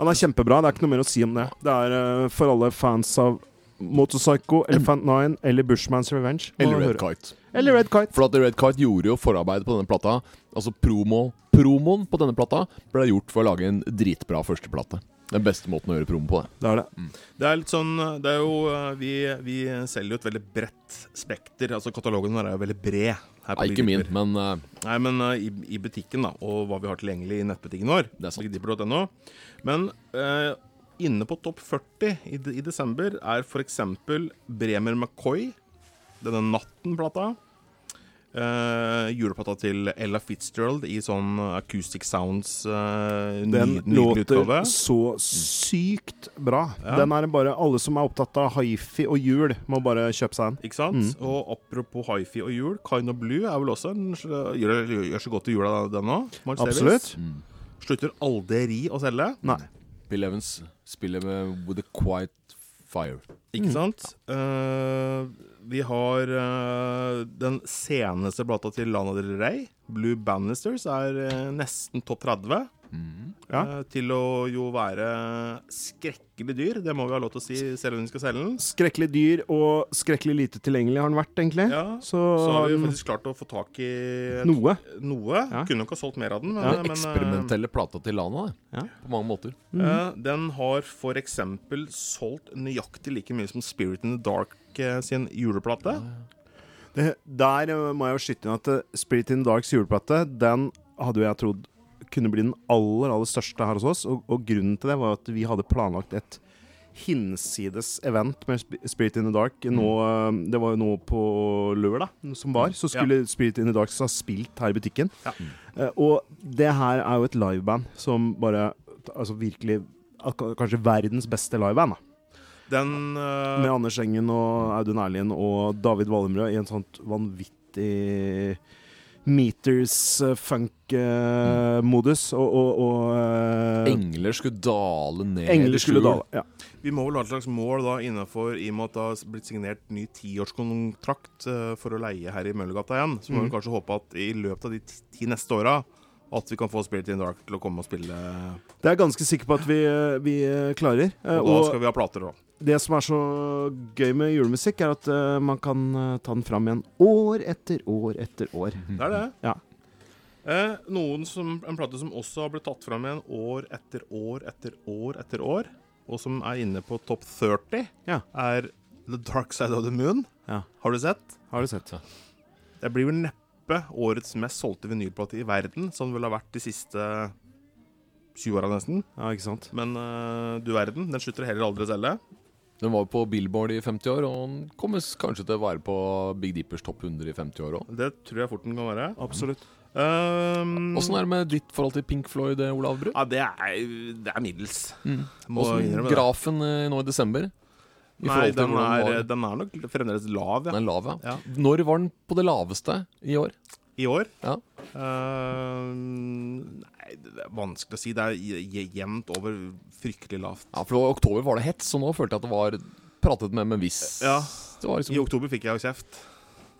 Han er kjempebra. Det er ikke noe mer å si om det. Det er eh, for alle fans av Motorpsycho, Elephant Nine eller Bushman's Revenge. må
Eller Red
høre.
Kite.
eller Red Kite.
For at Red Kite gjorde jo forarbeidet på denne plata. Altså promo promoen på denne plata ble gjort for å lage en dritbra førsteplate. Den beste måten å gjøre promo på. det
Det er det.
Det er litt sånn eh, Det er jo eh, Vi, vi selger jo et veldig bredt spekter. Altså Katalogen vår er jo veldig bred. her på
Nei,
Big
ikke min,
Dipper.
men eh,
Nei, men eh, i, i butikken, da, og hva vi har tilgjengelig i nettbutikken vår.
Det er sant.
Digdipper.no. Men eh, inne på topp 40 i, de- i desember er f.eks. Bremer McCoy, denne Natten-plata. Eh, juleplata til Ella Fitzgerald i sånn Acoustic Sounds eh,
Den
ny- nydelig utgave.
låter så sykt bra.
Ja.
Den er bare Alle som er opptatt av hifi og jul, må bare kjøpe seg den.
Ikke sant? Og apropos hifi og jul, Kind of Blue er vel også en Gjør, gjør så godt i jula, den òg.
Absolutt.
Mm. Slutter aldri å selge.
Nei.
Bill Evans spiller med With a Quiet Fire.
Ikke
Mm.
sant? Eh, vi har eh, den seneste plata til Lana Del Rey, Blue Bannisters, er eh, nesten topp 30.
Mm. Ja.
Eh, til å jo være skrekkelig dyr, det må vi ha lov til å si selv om vi skal selge den.
Skrekkelig dyr og skrekkelig lite tilgjengelig har den vært, egentlig.
Ja,
Så,
Så har vi jo faktisk klart å få tak i
noe.
noe.
um, Ja.
Kunne nok ha solgt mer av den. Men,
Den
men, eh,
eksperimentelle plata til Lana, det.
Ja.
På mange måter.
Eh, den har for eksempel solgt nøyaktig like mye som Spirit in the Dark eh, sin juleplate.
Det, der eh, må jeg jo skyte inn at eh, Spirit in the Darks juleplate, den hadde jo jeg trodd kunne bli den aller, aller største her hos oss. Og, og grunnen til det var at vi hadde planlagt et hinsides event med Sp- Spirit in the Dark.
Mm.
Nå, eh, det var jo nå på lørdag som var, så skulle Spirit in the Dark ha spilt her i butikken. Eh, og det her er jo et liveband som bare Altså virkelig at- Kanskje verdens beste liveband. da
Den eh,
med Anders Engen og Audun Erlien og David Wallemrød i en sånt vanvittig meters eh, funk eh, modus og, og, og eh,
Engler skulle dale ned
Engler
i
skulle
skjul.
da ja.
Vi må vel ha et slags mål da innenfor, i og med at det har blitt signert ny tiårskontrakt eh, for å leie her i Møllergata igjen. Så må
Mhm.
vi kanskje håpe at i løpet av de ti, ti neste åra at vi kan få Spirit in the Dark til å komme og spille.
Det er jeg ganske sikker på at vi, eh, vi eh, klarer. Eh,
Og da
og
skal vi ha plater òg.
det som er så gøy med julemusikk, er at eh, man kan eh, ta den fram igjen år etter år etter år.
Det er det.
Mm. Ja.
Eh, noen som, en plate som også har blitt tatt fram igjen år etter år etter år etter år, og som er inne på topp 30,
Ja.
er The Dark Side of the Moon.
Ja.
Har du sett?
Har du sett?
Det blir vel neppe årets mest solgte vinylplate i verden, som det vel har vært de siste 20 åra nesten.
Ja, ikke sant?
Men eh, du verden, den slutter heller aldri å selge.
Den var jo på Billboard i 50 år, og den kommer s- kanskje til å være på Big Dippers topp 100 i 50 år òg.
Det tror jeg fort den kan være.
Absolutt.
Um,
Åssen er det med ditt forhold til Pink Floyd, eh, Olav Bru?
Ja, det er, det er middels. Må
Mm. Åssen
innrømme det.
grafen eh, nå i desember? I
Nei,
forhold til
den
hvordan
er,
var-
den er nok fremdeles lav,
Den
ja.
er lav, ja.
ja.
Når var den på det laveste i år?
I år?
Ja.
Ehm, nei, det er vanskelig å si. Det er je- jevnt over fryktelig lavt.
Ja, For i oktober var det hett, så nå følte jeg at det var pratet med med en viss
Ja.
Det var
I
liksom,
oktober fikk jeg jo kjeft.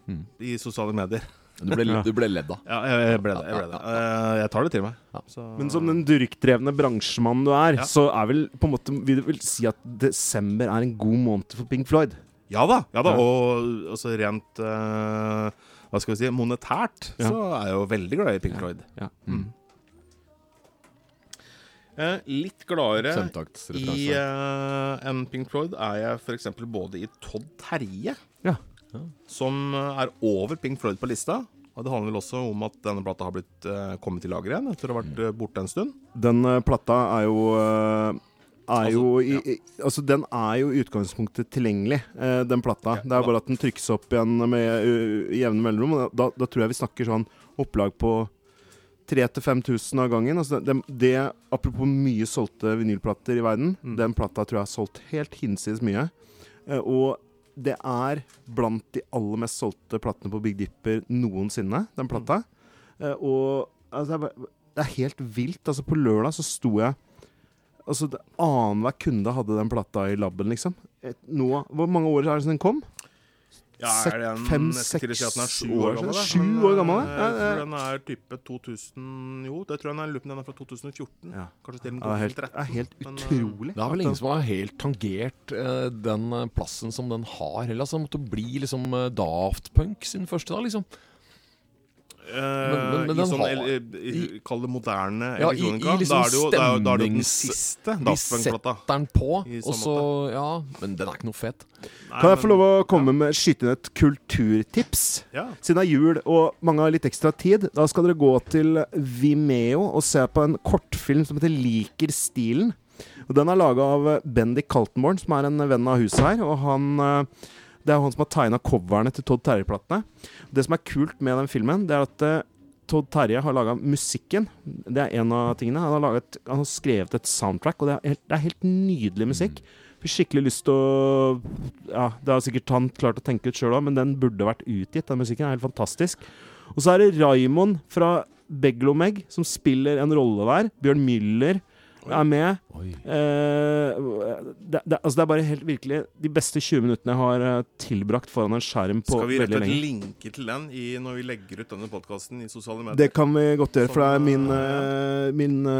Mm.
I sosiale medier.
du, ble, du ble ledd av.
Ja, jeg, jeg ble det. Jeg, ble det. Eh, jeg tar det til meg.
Ja.
Så-
Men som den durkdrevne bransjemannen du er,
Ja.
så er vel på en måte Vil du vel si at desember er en god måned for Pink Floyd?
ja da. Ja da.
Ja.
Og også rent eh, Hva skal vi si monetært
Ja.
så er jeg jo veldig glad i Pink Floyd.
Ja.
Mm. Eh, litt gladere I
Femtaktsreferanse.
eh, en Pink Floyd er jeg f.eks. både i Todd Terje,
Ja.
som eh, er over Pink Floyd på lista. Og det handler vel også om at denne plata har blitt eh, kommet i lager igjen etter å ha vært eh, borte en stund.
Den eh, platta er jo eh, er jo i, i, altså Den er jo i utgangspunktet tilgjengelig, eh, den plata. Det er bare at den trykkes opp igjen med uh, jevne mellomrom. og Da, da tror jeg vi snakker sånn opplag på 3000-5000 av gangen. Altså det, det, apropos mye solgte vinylplater i verden. Den plata tror jeg har solgt helt hinsides mye. Eh, og det er blant de aller mest solgte platene på Big Dipper noensinne, den plata. Eh, og altså, det, er, bare- det er helt vilt. Altså, på lørdag så sto jeg Altså, det- Annenhver kunde hadde den plata i laben, liksom. Et, nå, hvor mange år er det siden den kom? Sek- fem, seks år siden.
da,
Sju
men,
år gammel,
eh,
ja,
Jeg tror
ja.
den er type 2000 Jo, det tror jeg den er, lurer på om den er fra 2014.
Ja.
Kanskje til og
Ja, Det
med
er helt, det
2013.
er helt
men, eh,
utrolig.
Det er
at
vel
den-
ingen som har helt tangert eh, den eh, plassen som den har, heller. Altså, det måtte bli liksom eh, Daft Punk sin første, da, liksom.
Eh,
men- men
I
den
sånn
har-
el- eh, i- Kall det moderne
Ja, i- i
elektronika.
liksom
da, er det jo, da, er jo- da er det jo den
stemnings-
siste
Vi
Daft Punk-plata.
setter den på,
I så
og så Ja, men den er ikke noe fet.
Nei,
Kan jeg få
men-
lov å komme med skyte inn et kulturtips?
Ja.
Siden det er jul og mange har litt ekstra tid, da skal dere gå til Vimeo og se på en kortfilm som heter 'Liker stilen'. Og Den er laga av eh, Bendik Kaltenborn, som er en venn av huset her. Og han eh, Det er jo han som har tegna coverne til Todd Terje-platene. Det som er kult med den filmen, det er at eh, Todd Terje har laga musikken. Det er en av tingene. Han har, laget, han har skrevet et soundtrack, og det er helt, det er helt nydelig musikk. Fikk skikkelig lyst til å ja, Det har sikkert han klart å tenke ut sjøl òg, men den burde vært utgitt. Den musikken er helt fantastisk. Og så er det Raymond fra Beglomeg som spiller en rolle der. Bjørn Müller er med. Eh, det, det, altså det er bare helt virkelig de beste 20 minuttene jeg har eh, tilbrakt foran en skjerm på
Skal vi rett og
veldig
slett
lenge.
linke til den i, når vi legger ut denne podkasten i sosiale medier?
Det kan vi godt gjøre, for det er
Sånn,
min,
ja.
eh, min eh,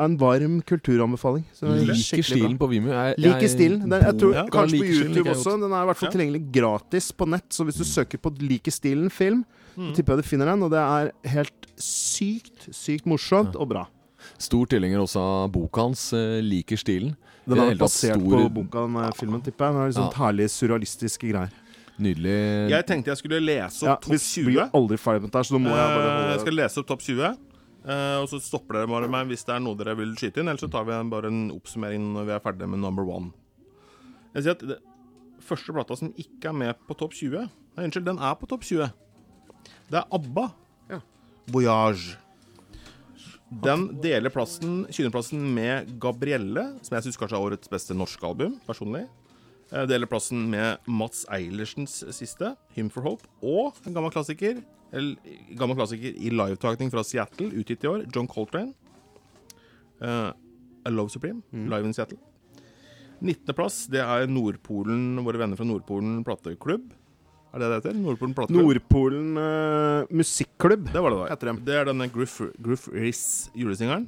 er en varm kulturanbefaling. Så det er
Liker
skikkelig bra.
stilen på Vimeo. Jeg,
Liker stilen. Den, jeg tror, kanskje
boka
på
liker stilen liker
YouTube
jeg
også.
godt.
Den er i hvert fall
Ja.
tilgjengelig gratis på nett, så hvis du søker på 'Liker stilen film',
Mm.
så tipper jeg du finner den. Og det er helt sykt, sykt morsomt og bra.
Stor tilhenger også av boka hans. eh, Liker stilen. I
Den
det
er
hele tatt
basert
stor-
på boka, den eh, filmen, tipper jeg. Den er litt sånn herlig surrealistiske greier.
Nydelig.
Jeg tenkte jeg skulle lese
Ja,
opp
vi
topp 20.
blir aldri ferdig med dette, her, så nå må jeg bare
Eh, jeg
holde
skal lese opp topp 20, eh, og så stopper dere bare meg hvis det er noe dere vil skyte inn. Ellers så tar vi en- bare en oppsummering når vi er ferdig med number one. Jeg sier at det, første plata som ikke er med på topp 20 Nei, unnskyld, den er på topp 20. Det er ABBA. Voyage. Den deler plassen, kynneplassen med Gabrielle, som jeg syns kanskje er årets beste norske album, personlig. Eh, Deler plassen med Mats Eilersens siste, 'Hymn for Hope', og en gammel klassiker, eller, gammel klassiker i livetakning fra Seattle, utgitt i år, John Coltrane. Eh, I Love Supreme,
Mm.
live in Seattle. 19.-plass, det er Nordpolen, våre venner fra Nordpolen plateklubb. Er det det heter? Nordpolen plateklubb?
Nordpolen eh, musikklubb.
Det var det det
Heter
var.
dem.
Det er denne Gruff, Gruff Riss julesingelen.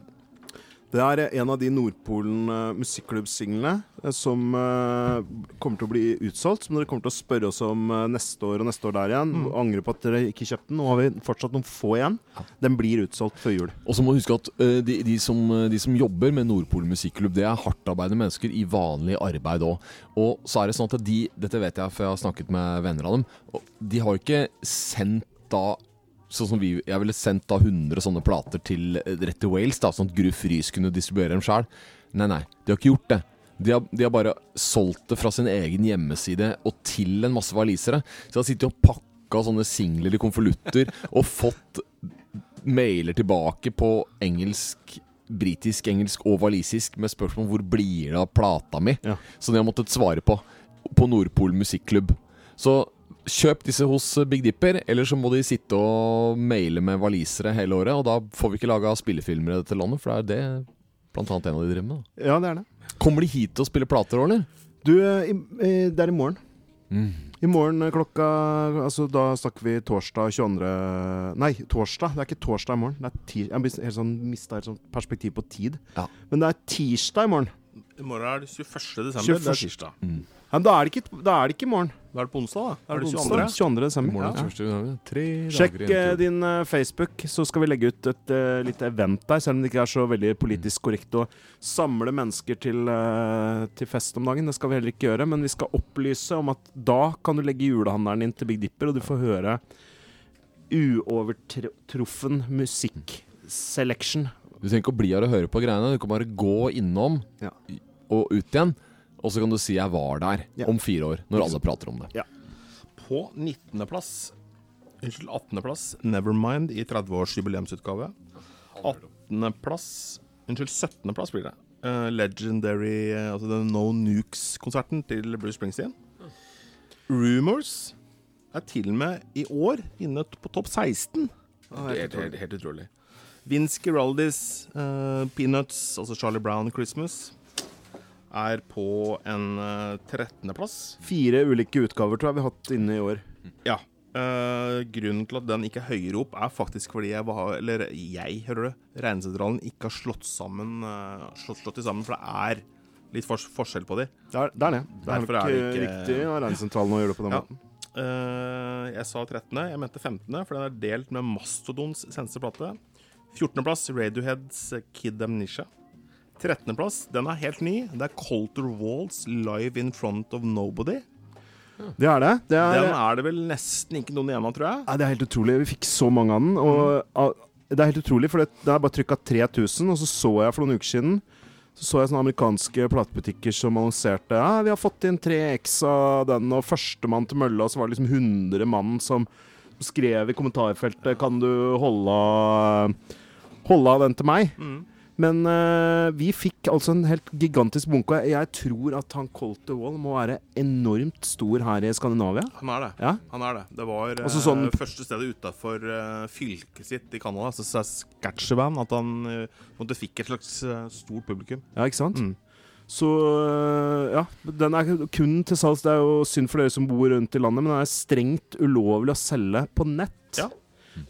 Det er en av de Nordpolen uh, musikklubbsinglene eh, som eh, kommer til å bli utsolgt. Som dere kommer til å spørre oss om eh, neste år og neste år der igjen. Angrer på at dere ikke kjøpte den. Nå har vi fortsatt noen få igjen. Den blir utsolgt før jul.
Og så må du huske at eh, de, de, som, de som jobber med Nordpol Musikklubb, det er hardtarbeidende mennesker i vanlig arbeid òg. Og så er det sånn at de, dette vet jeg for jeg har snakket med venner av dem, og de har ikke sendt da Sånn som vi, Jeg ville sendt da 100 sånne plater til eh, rett til Wales, da, sånn at Gruff Rys kunne distribuere dem sjøl. Nei, nei, de har ikke gjort det. De har, de har bare solgt det fra sin egen hjemmeside og til en masse walisere. Så de har sittet og pakka sånne singler i konvolutter og fått mailer tilbake på engelsk, britisk, engelsk og walisisk med spørsmål om hvor blir det av plata mi,
Ja.
som de har måttet svare på på Nordpol Musikklubb. Så kjøp disse hos Big Dipper, eller så må de sitte og maile med walisere hele året, og da får vi ikke laga spillefilmer i dette landet, for det er det blant annet en av de driver med. da.
Ja, det er det.
Kommer de hit og spiller plater, eller?
Du, eh, i, eh, det er i morgen. I morgen eh, klokka Altså, da snakker vi torsdag 22. Nei, torsdag. Det er ikke torsdag i morgen. Det er tir jeg blir helt sånn, mista helt sånn perspektiv på tid.
Ja.
Men det er tirsdag i morgen.
I morgen er det 21. desember. Det
21..
er tirsdag.
Ja, men da er det ikke, da er det ikke i morgen.
Da er det på onsdag, da. Da er det 22.
Onsdag 22. desember.
Morgen
Ja.
og torsdag, tre
Sjekk
dager igjen
eh,
til-
din eh, Facebook, så skal vi legge ut et eh, lite event der. Selv om det ikke er så
Mm.
veldig politisk korrekt å samle mennesker til, eh, til fest om dagen. Det skal vi heller ikke gjøre, men vi skal opplyse om at da kan du legge julehandelen inn til Big Dipper, og du får høre uovertruffen musikkselection.
Du trenger ikke å bli her og høre på greiene. Du kan bare gå innom
Ja.
og ut igjen. Og så kan du si 'jeg var der'
Ja.
om fire år, når alle prater om det.
På 19.-plass Unnskyld, 18.-plass Nevermind i 30-års jubileumsutgave. 18.-plass Unnskyld, 17.-plass blir det. Eh, legendary eh, Altså den No Nukes-konserten til Bruce Springsteen. Rumors er til og med i år inne på topp 16. Det er helt, helt, helt utrolig. Vince Giraldis eh, Peanuts, altså Charlie Brown Christmas, er på en eh, 13.-plass.
Fire ulike utgaver tror jeg vi har hatt inne i år.
Ja. Eh, grunnen til at den ikke er høyere opp, er faktisk fordi jeg var Eller jeg, hører du. Regnesentralen ikke har slått sammen eh, slått, slått de sammen, for det er litt fors forskjell på de.
Der, der nede. Det er
Derfor
nok
er det
eh,
ikke-
riktig av Reinsentralen å gjøre det på den
Ja.
måten.
Eh, jeg sa 13., jeg mente 15., for den er delt med Mastodons seneste plate. 14.plass Radioheads Kid Amnesia. 13.plass, den er helt ny. Det er Colter Walls Live in Front of Nobody.
Det er det. Det er,
Den er det vel nesten ikke noen igjen av, tror jeg.
Nei, det er helt utrolig. Vi fikk så mange av den. Og ah, det er helt utrolig, for det, det er bare trykka 3000, og så så jeg for noen uker siden så så jeg sånne amerikanske platebutikker som annonserte ja, vi har fått inn 3X av den, og førstemann til mølla, og så var det liksom 100 mann som skrev i kommentarfeltet Kan du holde av Holde av den til meg? Men eh, vi fikk altså en helt gigantisk bunke. og Jeg jeg tror at han Colter Wall må være enormt stor her i Skandinavia.
Han er det.
Ja.
Han er det. det var eh,
Altså sånn-
første stedet utafor fylket sitt i Canada, altså Saskatchewan, at han eh, på en måte fikk et slags eh, stort publikum.
Ja, ikke sant?
Mm.
Så øh, ja, den er kun til salgs. Det er jo synd for dere som bor rundt i landet, men den er strengt ulovlig å selge på nett.
Ja.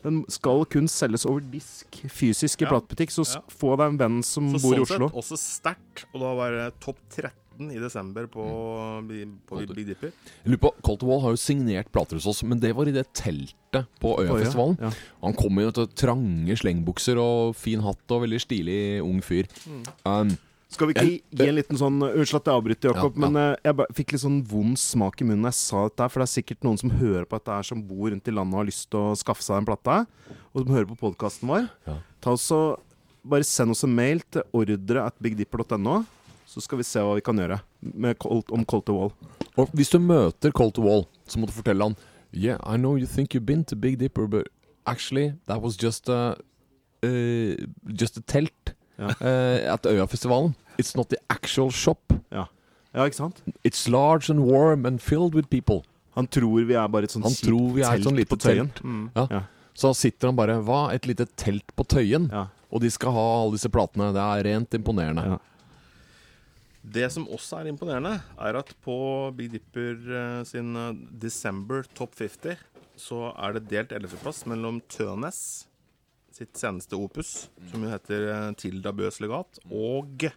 Den skal kun selges over disk, fysisk i
Ja.
platebutikk. Så s-
Ja.
få deg en venn som
Så
bor i
sånn
Oslo.
sett også sterkt, og da være topp 13 i desember på,
Mm.
eh, Bi- på Big Dipper.
Jeg lurer på, Colt Wall har jo signert plater hos oss, men det var i det teltet på Øyafestivalen.
Ja.
Han kom inn etter trange slengbukser og fin hatt og veldig stilig ung fyr.
Mm.
Um,
Skal vi ikke gi en liten sånn Unnskyld at jeg avbryter, Jakob,
Ja, ja.
men eh, jeg ba- fikk litt sånn vond smak i munnen da jeg sa dette, her, for det er sikkert noen som hører på dette her, som bor rundt i landet og har lyst til å skaffe seg en plate, og som hører på podkasten vår.
Ja.
Ta også, Bare send oss en mail til ordre at bigdipper.no. Så skal vi se hva vi kan gjøre med Colt, om Colt the Wall.
Og hvis du møter Colt Wall, så må du fortelle han Yeah, I know you think you've been to Big Dipper, but actually that was just a eh, Just a telt
Ja.
eh, at Øyafestivalen. It's not the actual shop.
Ja, ikke sant?
It's large and warm and filled with people.
Han tror vi er bare et sånt
Han
kjipt
tror vi er et
telt
sånn lite
på Tøyen.
telt.
Mm.
Ja.
Ja.
Så sitter han bare Hva? Et lite telt på Tøyen?
Ja.
Og de skal ha alle disse platene. Det er rent imponerende.
Ja.
Det som også er imponerende, er at på Big Dipper eh, sin eh, December Top 50 så er det delt 11.-plass mellom Tønes sitt seneste opus, som jo heter eh, Tilda Bøs legat, og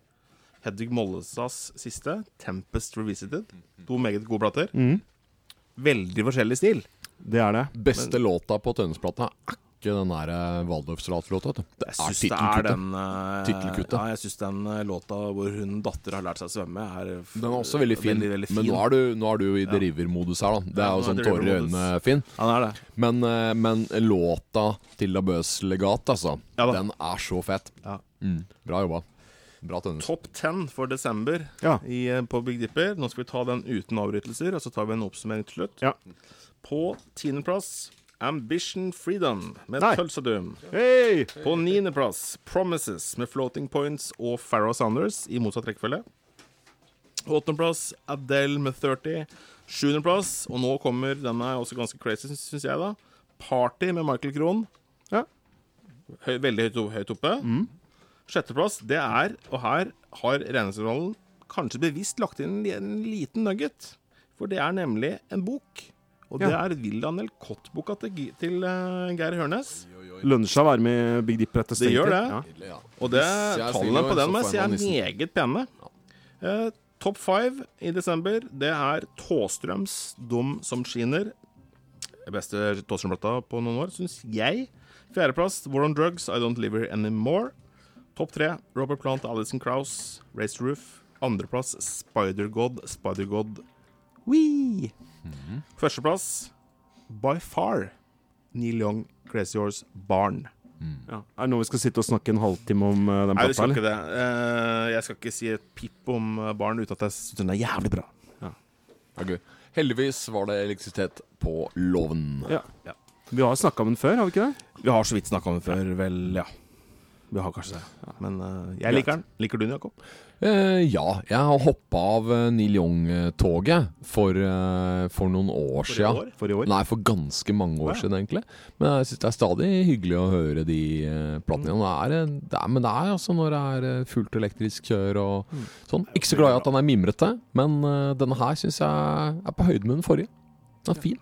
Hedvig Mollestads siste, Tempest Revisited. To meget gode plater. Veldig forskjellig stil.
Det er det.
Beste låta på Tønnesplata er ikke den der eh, Waldorf-salatlåta. vet du. Det
Jeg syns det er den eh,
Tittelkuttet.
Ja, jeg synes den eh, låta hvor hun datter har lært seg å svømme, er f-
Den er også veldig fin,
Veldig, veldig
men
fin.
nå er du, nå er du i drivermodus her, da.
Ja,
Det er jo
nå er
sånn
jeg
tårer i
drivermodus.
øynene, Finn.
Ja, den er det.
Men, eh, men låta til Labøs legat, altså,
Ja da.
den er så fett.
Ja.
Mm, bra jobba. Bra Tønnes.
Topp 10 for desember
Ja.
i, eh, på Big Dipper. Nå skal vi ta den uten avbrytelser, og så tar vi en oppsummering til slutt.
Ja.
På tiendeplass Ambition Freedom med
Nei.
Tulsa Doom.
Hei!
På niendeplass Promises med Floating Points og Farrah Sanders i motsatt rekkefølge. Åttendeplass Adele med 30. Sjuendeplass, og nå kommer den er også ganske crazy, syns jeg, da. Party med Michael Krohn.
Ja. Mm.
Høy, veldig høyt, høyt oppe. Sjetteplass, det er, og her har Regningsrollen kanskje bevisst lagt inn en, en liten nugget. For det er nemlig en bok. Og det
Ja.
er William L. Cott-boka til, Gi- til eh, Geir Hørnes.
Lønner seg å være med i Big Dipper etter
Det gjør
stengtid.
det.
Ja.
Og det,
Hvis jeg er
tallene
snill,
på
så
den må jeg
får
si
jeg
er
meg nissen.
meget pene. Eh, Topp five i desember, det er Tåstrøms 'Dum som skinner'. Beste Tåstrøm-plata på noen år, syns jeg. Fjerdeplass War on Drugs, I Don't Live Here Anymore. Topp tre Robert Plant, Alison Krauss, Raised Roof. Andreplass Spider-God, Spider-God Wee!
Mhm.
Førsteplass By Far, Neil Young, Crazy Horse, Barn.
Ja. Er det nå vi skal sitte og snakke en halvtime om eh, den
Nei, vi
plata,
skal
eller?
ikke det. Eh, jeg skal ikke si et pip om eh, barn uten at jeg syns den er jævlig bra.
Ja, gøy. Heldigvis var det elektrisitet på låven.
Ja. Vi har snakka om den før, har vi ikke det?
Vi har så vidt snakka om den før, vel, ja. Vi har kanskje det. Men eh, jeg liker den. Liker du den, Jakob?
Eh, ja, jeg har hoppa av eh, Neil Young-toget for, eh, for noen år
For i
sia.
år?
For i år.
Nei, for ganske mange år
Ja.
siden, egentlig. Men jeg syns det er stadig hyggelig å høre de eh, platene igjen. Det er, eh, det er, men det er altså når det er eh, fullt elektrisk kjør og sånn. Ikke så glad i at den er mimrete, men eh, denne her syns jeg er på høyde med den forrige. Den er fin.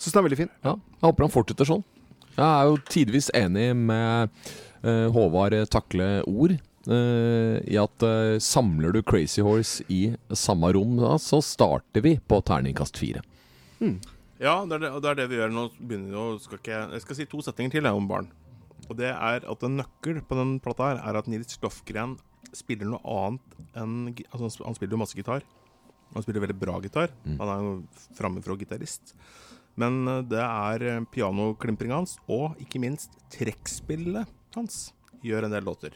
Syns den er veldig fin.
Ja, jeg håper han fortsetter sånn. Jeg er jo tidvis enig med eh, Håvard Takle Ord eh, i at eh, samler du Crazy Horse i samme rom, da, så starter vi på terningkast fire.
Ja, det er det, og det er det vi gjør nå. Begynner vi å, skal ikke, jeg skal si to setninger til jeg, om barn. Og det er at en nøkkel på den plata her er at Nils Lofgren spiller noe annet enn gi- altså han sp- Han spiller jo masse gitar. Han spiller veldig bra gitar. Han er jo framifrå gitarist. Men eh, det er eh, pianoklimpringa hans, og ikke minst trekkspillet hans, gjør en del låter.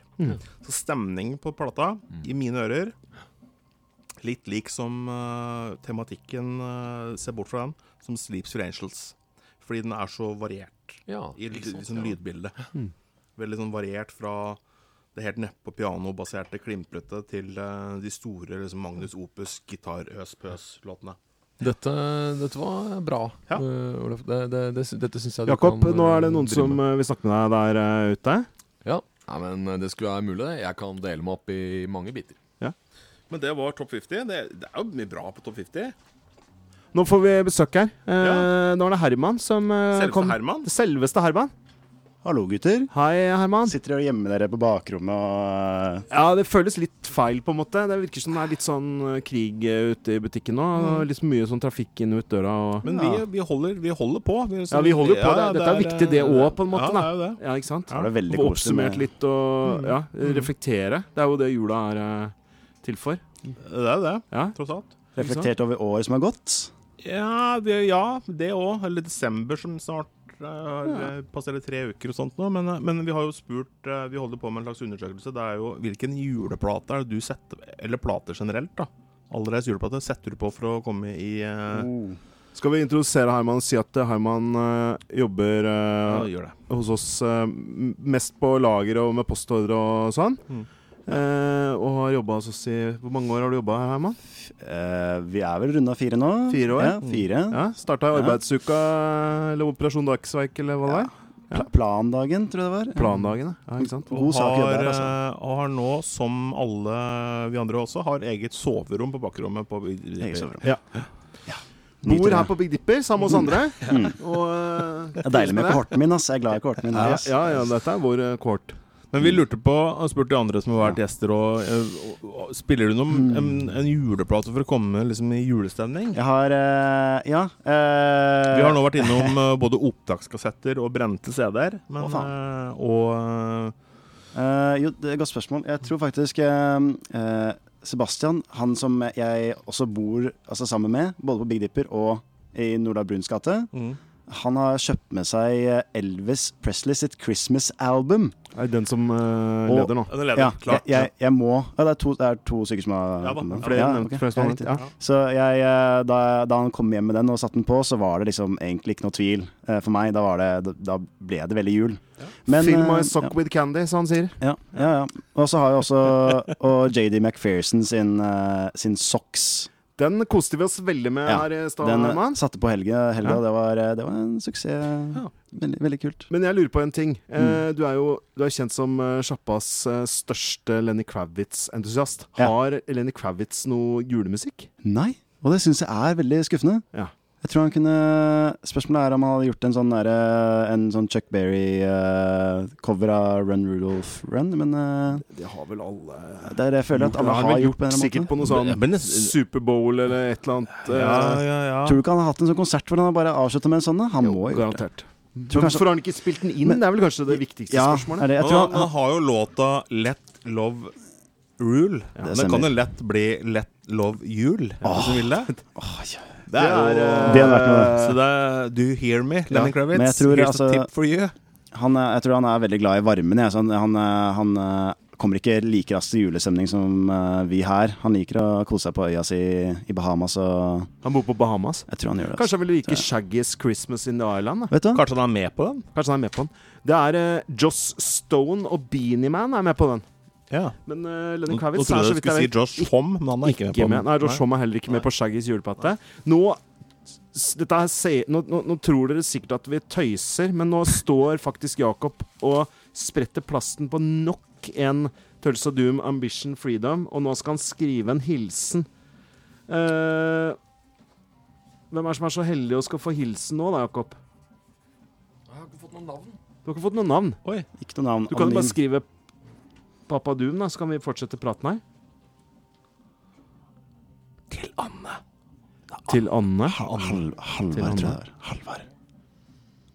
Så stemningen på plata, i mine ører Litt lik som eh, tematikken, eh, se bort fra den, som Sleeps for Angels. Fordi den er så variert
Ja,
i ly- sånn lydbilde.
Mm.
Veldig sånn variert fra det helt nedpå pianobaserte, klimplete, til eh, de store liksom Magnus Opus, gitar-øs-pøs-låtene.
Dette, dette var bra,
Ja.
eh, Olaf. Det, det, det, dette syns jeg du
Jakob,
kan eh,
nå er det noen
drive
som
med.
eh, vil snakke med deg der eh, ute.
Ja, Nei, men eh, det skulle være mulig. det. Jeg kan dele meg opp i mange biter.
Men det var topp 50. Det, det er jo mye bra på topp
Eh,
50.
Nå får vi besøk her. Eh, Nå er det Herman som eh,
Selveste
kom.
Herman.
Selveste Herman.
Hallo, gutter.
Hei, Herman.
Sitter dere og gjemmer dere på bakrommet og eh,
Ja, det føles litt feil, på en måte. Det virker som det er litt sånn eh, krig eh, ute i butikken nå.
Mm.
og Litt mye sånn trafikk inn og ut døra og
Men vi, vi, holder, vi holder på.
Ja, vi holder på. Det- dette er viktig det
eh,
også, på en måte,
Ja, det
da.
er jo det.
Ja, ikke sant?
Ja, det er veldig
Få
koselig med-
Oppsummert litt
Mm.
og ja, reflektere. Det er jo det jula er eh, til for.
Det er jo det,
Ja.
tross alt.
reflektert over året som har gått?
Ja, det, ja, det òg. Eller desember som snart Det har eh, passert tre uker og sånt nå, men, eh, men vi har jo spurt eh, Vi holder på med en slags undersøkelse. Det er jo hvilken juleplate er det du setter Eller plater generelt, da. Allreis juleplate setter du på for å komme i eh,
Skal vi introdusere Herman og si at eh, Herman eh, jobber
Ja,
eh,
gjør det.
hos oss eh, m- mest på lager og med postordre og sånn?
Mm.
Eh, og har jobba hos oss i Hvor mange år har du jobba her, Herman?
Eh, vi er vel runda fire nå?
Fire år? Mm.
Ja, fire.
Ja, Starta
Ja.
arbeidsuka eller Operasjon Dagsverk eller hva det var? Ja.
Pla- Plandagen, tror jeg det var.
Plandagen, ja. ja ikke sant?
God sak å
har,
jobbe her, altså.
eh, og har nå, som alle vi andre også, har eget soverom på bakrommet. På,
Eget soverom.
Ja. Bor her på Big Dipper sammen med oss andre.
Mm.
Og, eh,
Det er deilig med kohorten min, ass. Jeg er glad i kohorten min.
Ja,
ass.
ja, ja, dette er vår eh, kohort.
Men vi lurte på, og spurte de andre som har vært gjester, og, eh, og, og spiller du noen, en, en juleplate for å komme liksom, i julestemning?
Jeg har eh, Ja.
Vi har nå vært innom eh, både opptakskassetter og brente CD-er. Men,
Å,
eh, og
Eh, jo, det er et godt spørsmål. Jeg tror faktisk eh, eh, Sebastian, han som jeg også bor altså, sammen med, både på Big Dipper og i Nordahl Bruns gate,
eh, mm.
han har kjøpt med seg eh, Elvis Presley sitt Christmas album.
Er det den som eh,
Og-
leder nå?
Ja, det leder.
Ja, jeg,
klart.
jeg, jeg må Ja, det er to, det er to stykker som har
Ja da,
kommet.
Flere
Ja,
nevnt,
ok,
flere som
ja,
har
riktig.
nevnt, ja.
Så jeg, eh, da, da han kom hjem med den og satte den på, så var det liksom egentlig ikke noe tvil eh, for meg. Da, var det, da ble det veldig jul. Men,
Fill my
eh,
sock
ja.
with candy, som han sier.
Ja, ja, ja. Og så har jeg også og JD McPherson sin, eh, sin Socks.
Den koste vi oss veldig med
Ja,
her i stad,
Den eh,
Herman.
satte på helga, helga
Ja.
det, var, eh, det var en suksess.
Ja.
Veldig, veldig kult.
Men jeg lurer på en ting. Eh,
Mm.
Du er jo du er kjent som eh, sjappas eh, største Lenny Kravitz-entusiast.
Ja.
Har Lenny Kravitz noe julemusikk?
Nei, og det syns jeg er veldig skuffende.
Ja.
Jeg tror han kunne Spørsmålet er om han hadde gjort en sånn, der, eh, en sånn Chuck Berry-cover av Run Rudolph Run, men eh,
Det har vel alle
det er det jeg føler at alle
har
har
vel
gjort på en eller annen
Sikkert
måte.
på noe sånn
Ja, men det-
Superbowl eller et eller annet. eh,
ja, ja, ja.
Tror du ikke han har hatt en sånn konsert hvor han har bare avslutta med en sånn? da? Han
jo,
må jo
garantert.
Tror
Men
kanskje-
Hvorfor har han ikke spilt den inn?
Men-
det er vel kanskje det viktigste
Ja,
spørsmålet.
er det, jeg
Men
tror
han,
han,
han har jo låta 'Let Love Rule'.
det
det den kan
stemmer.
jo lett bli 'Let Love Jul', hvis du vil det. Det
er, eh,
Det er verdt noe.
Så det er 'Do you hear me', Lenny Kravitz?
Men jeg tror,
Here's
altså-
a tip for you.
han, er- jeg tror han er veldig glad i varmen. Jeg. Så han, han, eh, han eh, kommer ikke like raskt til julestemning som eh, vi her. Han liker å kose seg på øya si i Bahamas, og
Han bor på Bahamas.
jeg tror han gjør det. altså.
Kanskje han vil like Shaggy's Christmas in the Island? Da.
Vet du hva?
Kanskje han er med på den?
Kanskje han er med på den. Det er eh, Joss Stone og Beanie Man er med på den.
Ja.
Men eh, Lenny
Nå, nå
Kravitz
trodde
er så
jeg du skulle
vidt
si
jeg vet
Josh Homme, men han er ikke,
ikke
med på
med.
den.
Nei, Josh Homme er heller ikke med på Shaggies juleplate. Nå, s- dette her, se- nå, nå, nå tror dere sikkert at vi tøyser, men nå står faktisk Jakob og spretter plasten på nok en Tulsa Doom Ambition Freedom, og nå skal han skrive en hilsen. Eh, hvem er det som er så heldig og skal få hilsen nå, da, Jakob?
Jeg har ikke fått noe navn.
Du har ikke fått noe navn.
Ikke noe navn.
Du kan jo bare
anonym.
skrive Pappa Doom, da, så kan vi fortsette praten her. Til Anne. Til Anne?
Hal Halvard,
Til
tror jeg
han,
det er. Halvard.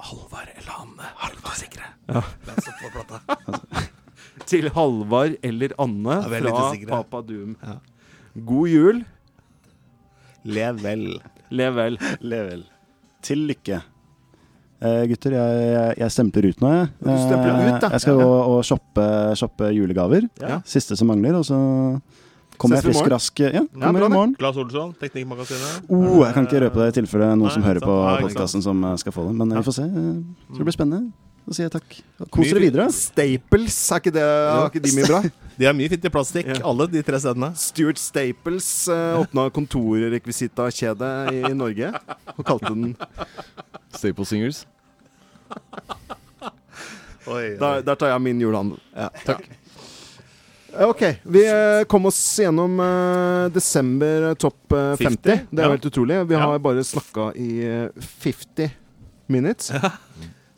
Halvard eller Hanne. Halvard. Sikre.
Til Halvard eller Anne
Ja, vi er litt
fra
usikre.
Pappa Doom.
Ja.
God jul.
Lev vel.
Lev vel.
Level. Til lykke. Eh, gutter, jeg, jeg, jeg stempler ut nå, jeg.
Ja, du stempler
Eh,
ut, da.
Jeg skal
Ja, ja.
gå og shoppe, shoppe julegaver.
Ja.
Siste som mangler, og så kommer
Ses vi i
jeg frisk
morgen?
og rask. Ja, kommer
bra
i
det.
morgen.
Claes Olsson, Teknikkmagasinet.
Oh, jeg kan ikke røpe det i tilfelle noen
Nei,
som hører
sant.
på
Nei, ikke
podkasten som eh, skal få det. Men
Ja. Mm.
vi får se. Jeg tror det blir spennende. Da sier jeg takk. Kos dere videre.
Staples, er ikke det er ikke de mye bra?
De har mye fint i plastikk,
Ja.
alle de tre stedene.
Stuart Staples eh, åpna kontorrekvisita-kjede i Norge og kalte den
Staple Singers.
Der, der tar jeg min julehandel. Eh, Ok, vi eh, kom oss gjennom eh, desember eh, topp eh, 50.
50,
Det er jo
ja.
helt utrolig. Vi har
Ja.
bare snakka i eh, 50 minutes.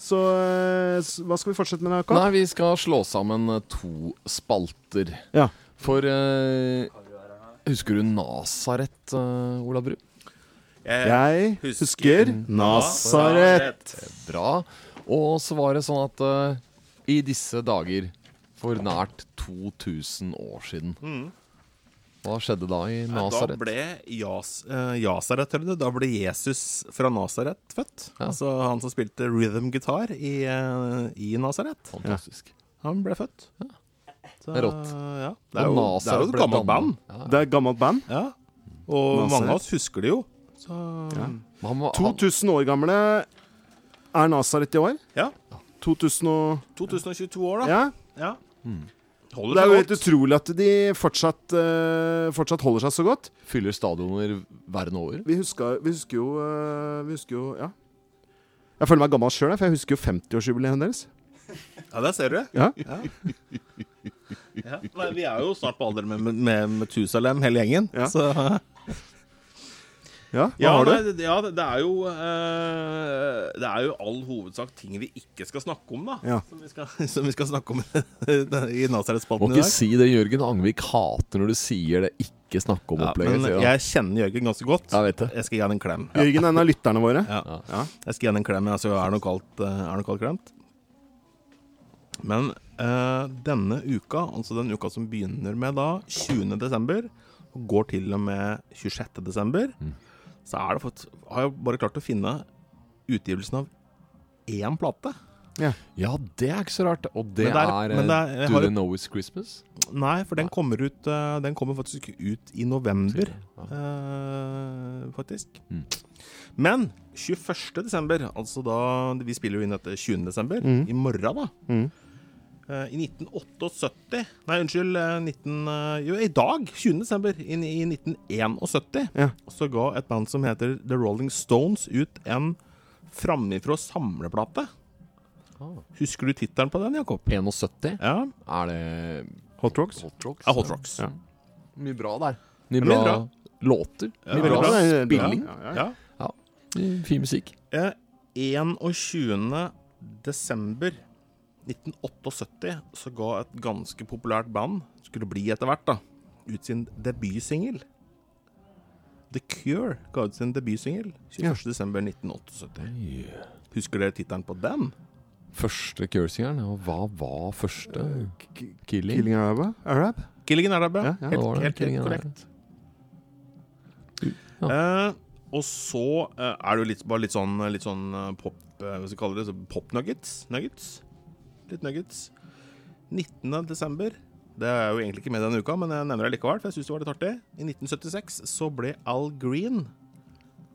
Så eh, s- hva skal vi fortsette med, Jakob?
Nei, vi skal slå sammen eh, to spalter.
Ja.
For eh, Husker du Nasaret, eh, Olav Bru?
Eh,
Jeg husker Nasaret.
Bra. Og så var det sånn at eh, i disse dager, for nært 2000 år siden, Hva skjedde da i
Nei,
Nasaret?
Da ble Jas, eh, Jasaret, eller det, da ble Jesus fra Nasaret født.
Ja.
Altså han som spilte rhythm-gitar i, eh, i Nasaret.
Fantastisk.
Han ble født. Så,
Det er rått.
Ja.
Og
Det er jo, det
Nasaret
er jo et
ble
gammelt band.
dannet. Ja.
Det er et gammelt band.
Ja. Og
Nasaret.
mange av oss husker det jo. Så, mm,
Men Han, var- han,
2000 år gamle er Nasaret i år.
Ja.
2000 og
2022 år, da.
Ja.
Ja. Holder
Det er
seg
jo
godt.
helt utrolig at de fortsatt, eh, fortsatt holder seg så godt.
fyller stadioner verden over.
Vi husker, vi husker jo eh, Vi husker jo, ja Jeg føler meg gammel selv, for jeg husker jo 50-årsjubileet deres
Ja, der ser du.
Ja.
Ja. Nei, vi er jo snart på alder med, med, med Methusalem, hele gjengen.
Ja.
Så
Ja, hva
ja,
har du?
nei, det- ja, det det er jo eh, Det er jo all hovedsak ting vi ikke skal snakke om, da.
Ja.
Som, vi skal, som vi skal snakke om i
Må
Nazaret-spalten i
ikke
dag.
si det Jørgen Angvik hater når du sier det ikke snakke om
Ja,
opplegget.
men
sier han.
jeg kjenner Jørgen ganske godt.
Jeg vet det.
Jeg skal gi han en klem.
Jørgen er en av lytterne våre
Ja. Jeg skal gi han en klem, altså, er det noe kaldt, eh, er det noe kaldt klemt? Men eh, denne uka, altså den uka som begynner med da 20. desember, og går til og med 26. desember, så er det fått, har jeg bare klart å finne utgivelsen av én plate.
Ja, det er ikke så rart. Og det,
Men det er-
er, eh,
men det er- jeg
Do
har
They
jo-
Know It's Christmas?
Nei, for den kommer ut eh, Den kommer faktisk ikke ut i november. eh, faktisk.
Mm.
Men 21. desember, altså da Vi spiller jo inn dette 20. desember. I morgen, da.
Mm.
Eh, I 1978 Nei, unnskyld. eh, 19, eh, jo, i dag, 20. desember, i, i 1971,
Ja.
så ga et band som heter The Rolling Stones ut en framifrå samleplate.
Ah.
Husker du tittelen på den, Jakob?
71?
Ja.
Er det
Hot Rocks
Hot Rocks?
ja Hot Rocks.
Ja.
Mye bra der. Mye
mye
bra, låter. Mye
veldig
bra,
bra.
spilling.
ja, ja, ja.
Ja.
Fin musikk.
Eh, 21. desember 1978 så ga et ganske populært band, skulle bli etter hvert, da, ut sin debutsingel. The Cure ga ut sin debutsingel 21.
Ja.
desember 1978. Husker dere tittelen på den?
Første Cursingeren, og hva var første?
K-
Killing?
Killing Arab Arab
Killing Arab,
Ja,
ja.
ja.
Hva
Helt,
var det?
helt,
Killing
helt
Arab.
korrekt. Eh, og så eh, er det jo litt, bare litt sånn, litt sånn eh, pop, eh, hva skal vi kalle det, så pop nuggets, nuggets. Litt nuggets. 19. desember. Det er jo egentlig ikke med denne uka, men jeg nevner det likevel, for jeg syns det var litt artig. I 1976 så ble Al Green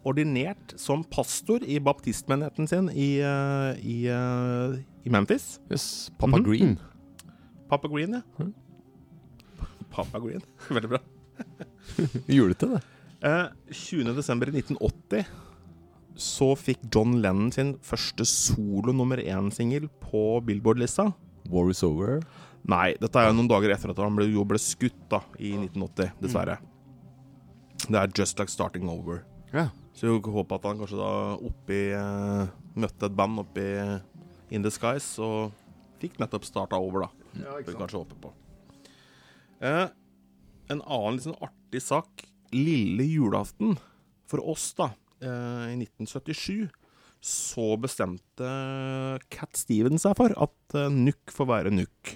ordinert som pastor i baptistmenigheten sin i, eh, i, eh, i Memphis.
Yes,
Mhm.
Papa Green.
Papa Green, ja. Papa Green. Veldig bra.
Julete, det.
Eh, 20. desember 1980 så fikk John Lennon sin første solo nummer én-singel på Billboard-lista.
War is over.
Nei, dette er jo noen dager etter at han ble, jo ble skutt da, i 1980, dessverre. Det er Just Like Starting Over.
Ja.
Så jeg håper at han kanskje da oppi eh, Møtte et band oppi In The Skies og fikk nettopp starta over, da. Ja, ikke sant. Kanskje håpe på. Eh, en annen litt sånn artig sak. Lille julaften for oss, da, eh, i 1977, så bestemte Cat Stevens seg for at eh, Nuck får være Nuck.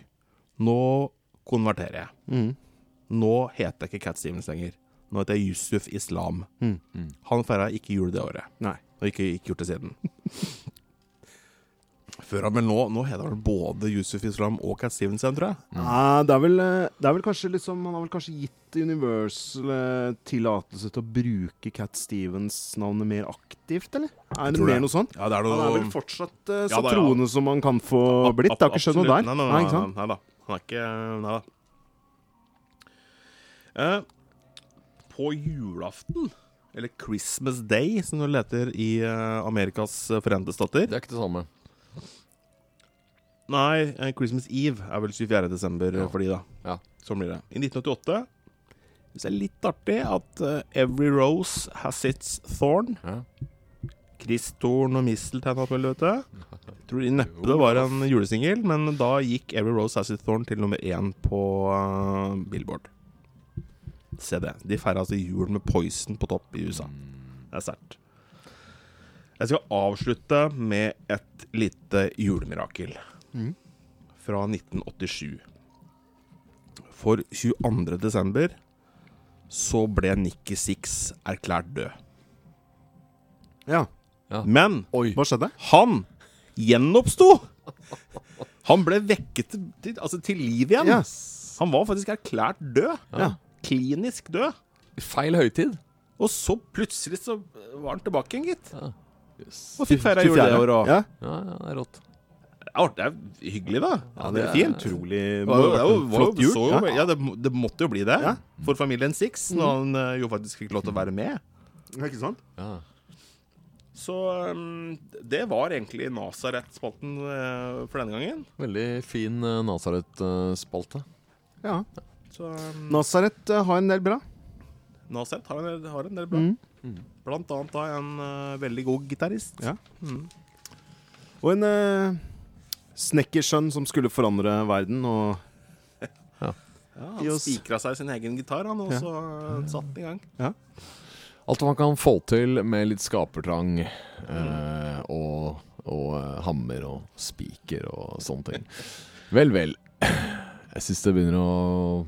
Nå konverterer jeg.
Mhm.
Nå heter jeg ikke Cat Stevens lenger. Nå heter jeg Yusuf Islam.
Mhm.
Han feira ikke jul det året.
Nei.
Og ikke, ikke gjort det siden. Før han, men nå, nå heter han både Yusuf Islam og Cat Stevenson, tror jeg.
Nei, det er, vel, eh, det er vel kanskje liksom Han har vel kanskje gitt Universal eh, tillatelse til å bruke Cat Stevens-navnet mer aktivt, eller? Er det
tror
mer
det.
noe sånt?
Ja, det er
Han
noe
er vel fortsatt eh,
Ja
så
da, ja.
troende som han kan få
Ab-
blitt. Det har
ab-
ikke skjedd noe
absolutt.
der.
Nei, nei,
Nei,
nei,
ikke sant?
nei, nei da. Han er ikke Nei da. Eh, på julaften, eller Christmas Day, som du leter i eh, Amerikas eh, forente stater
Det er ikke det samme.
Nei, eh, Christmas Eve er vel 24. desember eh,
Ja.
for de, da.
Ja.
Sånn blir det. I 1988 Synes det er litt artig at eh, Every Rose Has Its Thorn.
Ja.
Kristtorn og Misteltein og alt mulig, vet du. Jeg Tror neppe det var en julesingel, men da gikk Every Rose Has Its Thorn til nummer én på eh, Billboard. Se det. De feira altså jul med Poison på topp i USA. Det er sterkt. Jeg skal avslutte med et lite julemirakel fra 1987. For 22. desember så ble Nikki Six erklært død.
Ja.
Ja.
Men
Oi.
Hva skjedde?
han gjenoppsto! Han ble vekket til, til- altså til liv igjen.
Ja.
Han var faktisk erklært død.
Ja.
Klinisk død.
Feil høytid.
Og så plutselig så var han tilbake igjen, gitt.
Yes.
Og fikk feira jul det året òg.
Ja.
Ja, ja, det er rått.
Det er hyggelig, da.
ja, det er
det er-
fint. Utrolig
Det var jo, det var jo,
en
var jo,
flott jul.
så jo, ja, det, må- det måtte jo bli det
Ja.
for familien Six, når han eh, jo faktisk fikk lov til å være med.
Ja, Ikke sant?
Ja.
Så um, det var egentlig Nasaret-spalten eh, for denne gangen.
Veldig fin uh, Nazaret-spalte.
Ja.
Så um,
Nazaret eh, har en del bra.
Nasaret har en, har en del bra.
Mhm.
Mhm. Blant annet da en eh, veldig god gitarist.
Ja. Og en eh, snekkersønn som skulle forandre verden, og
Ja,
Gi
han
oss-
spikra seg sin egen gitar, han, og
Ja.
så eh, satte den i gang.
Alt man kan få til med litt skapertrang eh, og, og eh, hammer og spiker og sånne ting. Vel, vel. Jeg syns det begynner å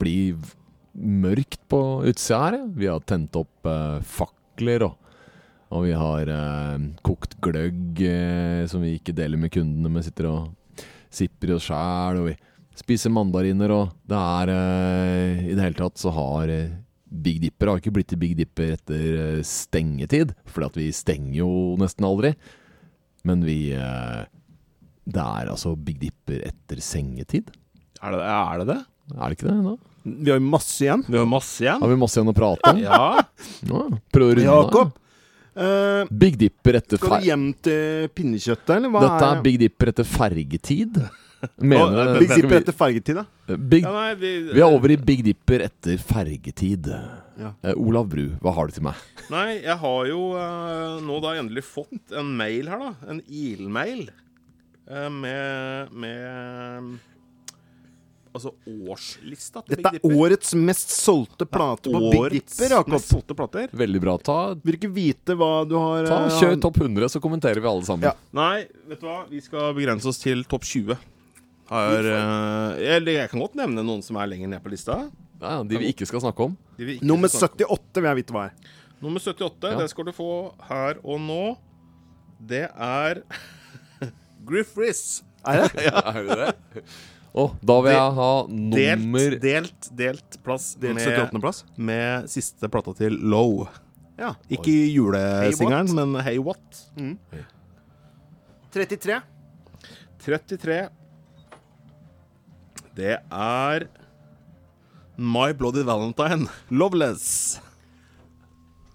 bli v- mørkt på utsida her. jeg. Vi har tent opp eh, fakler og og vi har eh, kokt gløgg eh, som vi ikke deler med kundene, men sitter og sipper i oss sjæl. Og vi spiser mandariner, og det er eh, I det hele tatt så har eh, Big Dipper har ikke blitt til Big Dipper etter eh, stengetid, for vi stenger jo nesten aldri. Men vi eh, Det er altså Big Dipper etter sengetid.
Er det er det? det?
Er det ikke det ennå?
vi har jo masse igjen.
Vi har masse igjen.
Har vi masse igjen å prate om?
Ja.
Ja, prøv å runde av.
Jakob, eh,
Big Dipper etter
skal du
fer...
hjem til pinnekjøttet, eller hva
Dette er
er
Big Dipper etter fergetid. Mener
Big
skal
Dipper
vi-
etter fergetid, da?
Big,
ja nei, vi,
vi er over i Big Dipper etter fergetid.
Ja.
Eh, Olav Bru, hva har du til meg?
nei, jeg har jo eh, nå da endelig fått en mail her, da. En ilmail eh, med, med Altså årslista til
Dette er årets mest solgte plate på Big Dipper, Jakob.
solgte plater.
Veldig bra. Ta,
Vil ikke vite hva du har
ta
eh,
Kjør topp 100, så kommenterer vi alle sammen.
Ja.
Nei, vet du hva? Vi skal begrense oss til topp 20. Har, eh, eller jeg kan godt nevne noen som er lenger ned på lista.
Ja, ja, de vi ikke skal snakke om.
De vi ikke
Nummer
snakker om.
78 vil jeg vite hva er.
Nummer 78,
Ja.
det skal du få her og nå. Det er Griff Riss.
Er det det? Og da vil jeg ha nummer
Delt, delt, delt plass
Delt
med,
78. plass.
med siste plata til Low.
Ja.
Ikke julesingelen, men Hey What.
33.
33. Det er My Bloody Valentine, Loveless.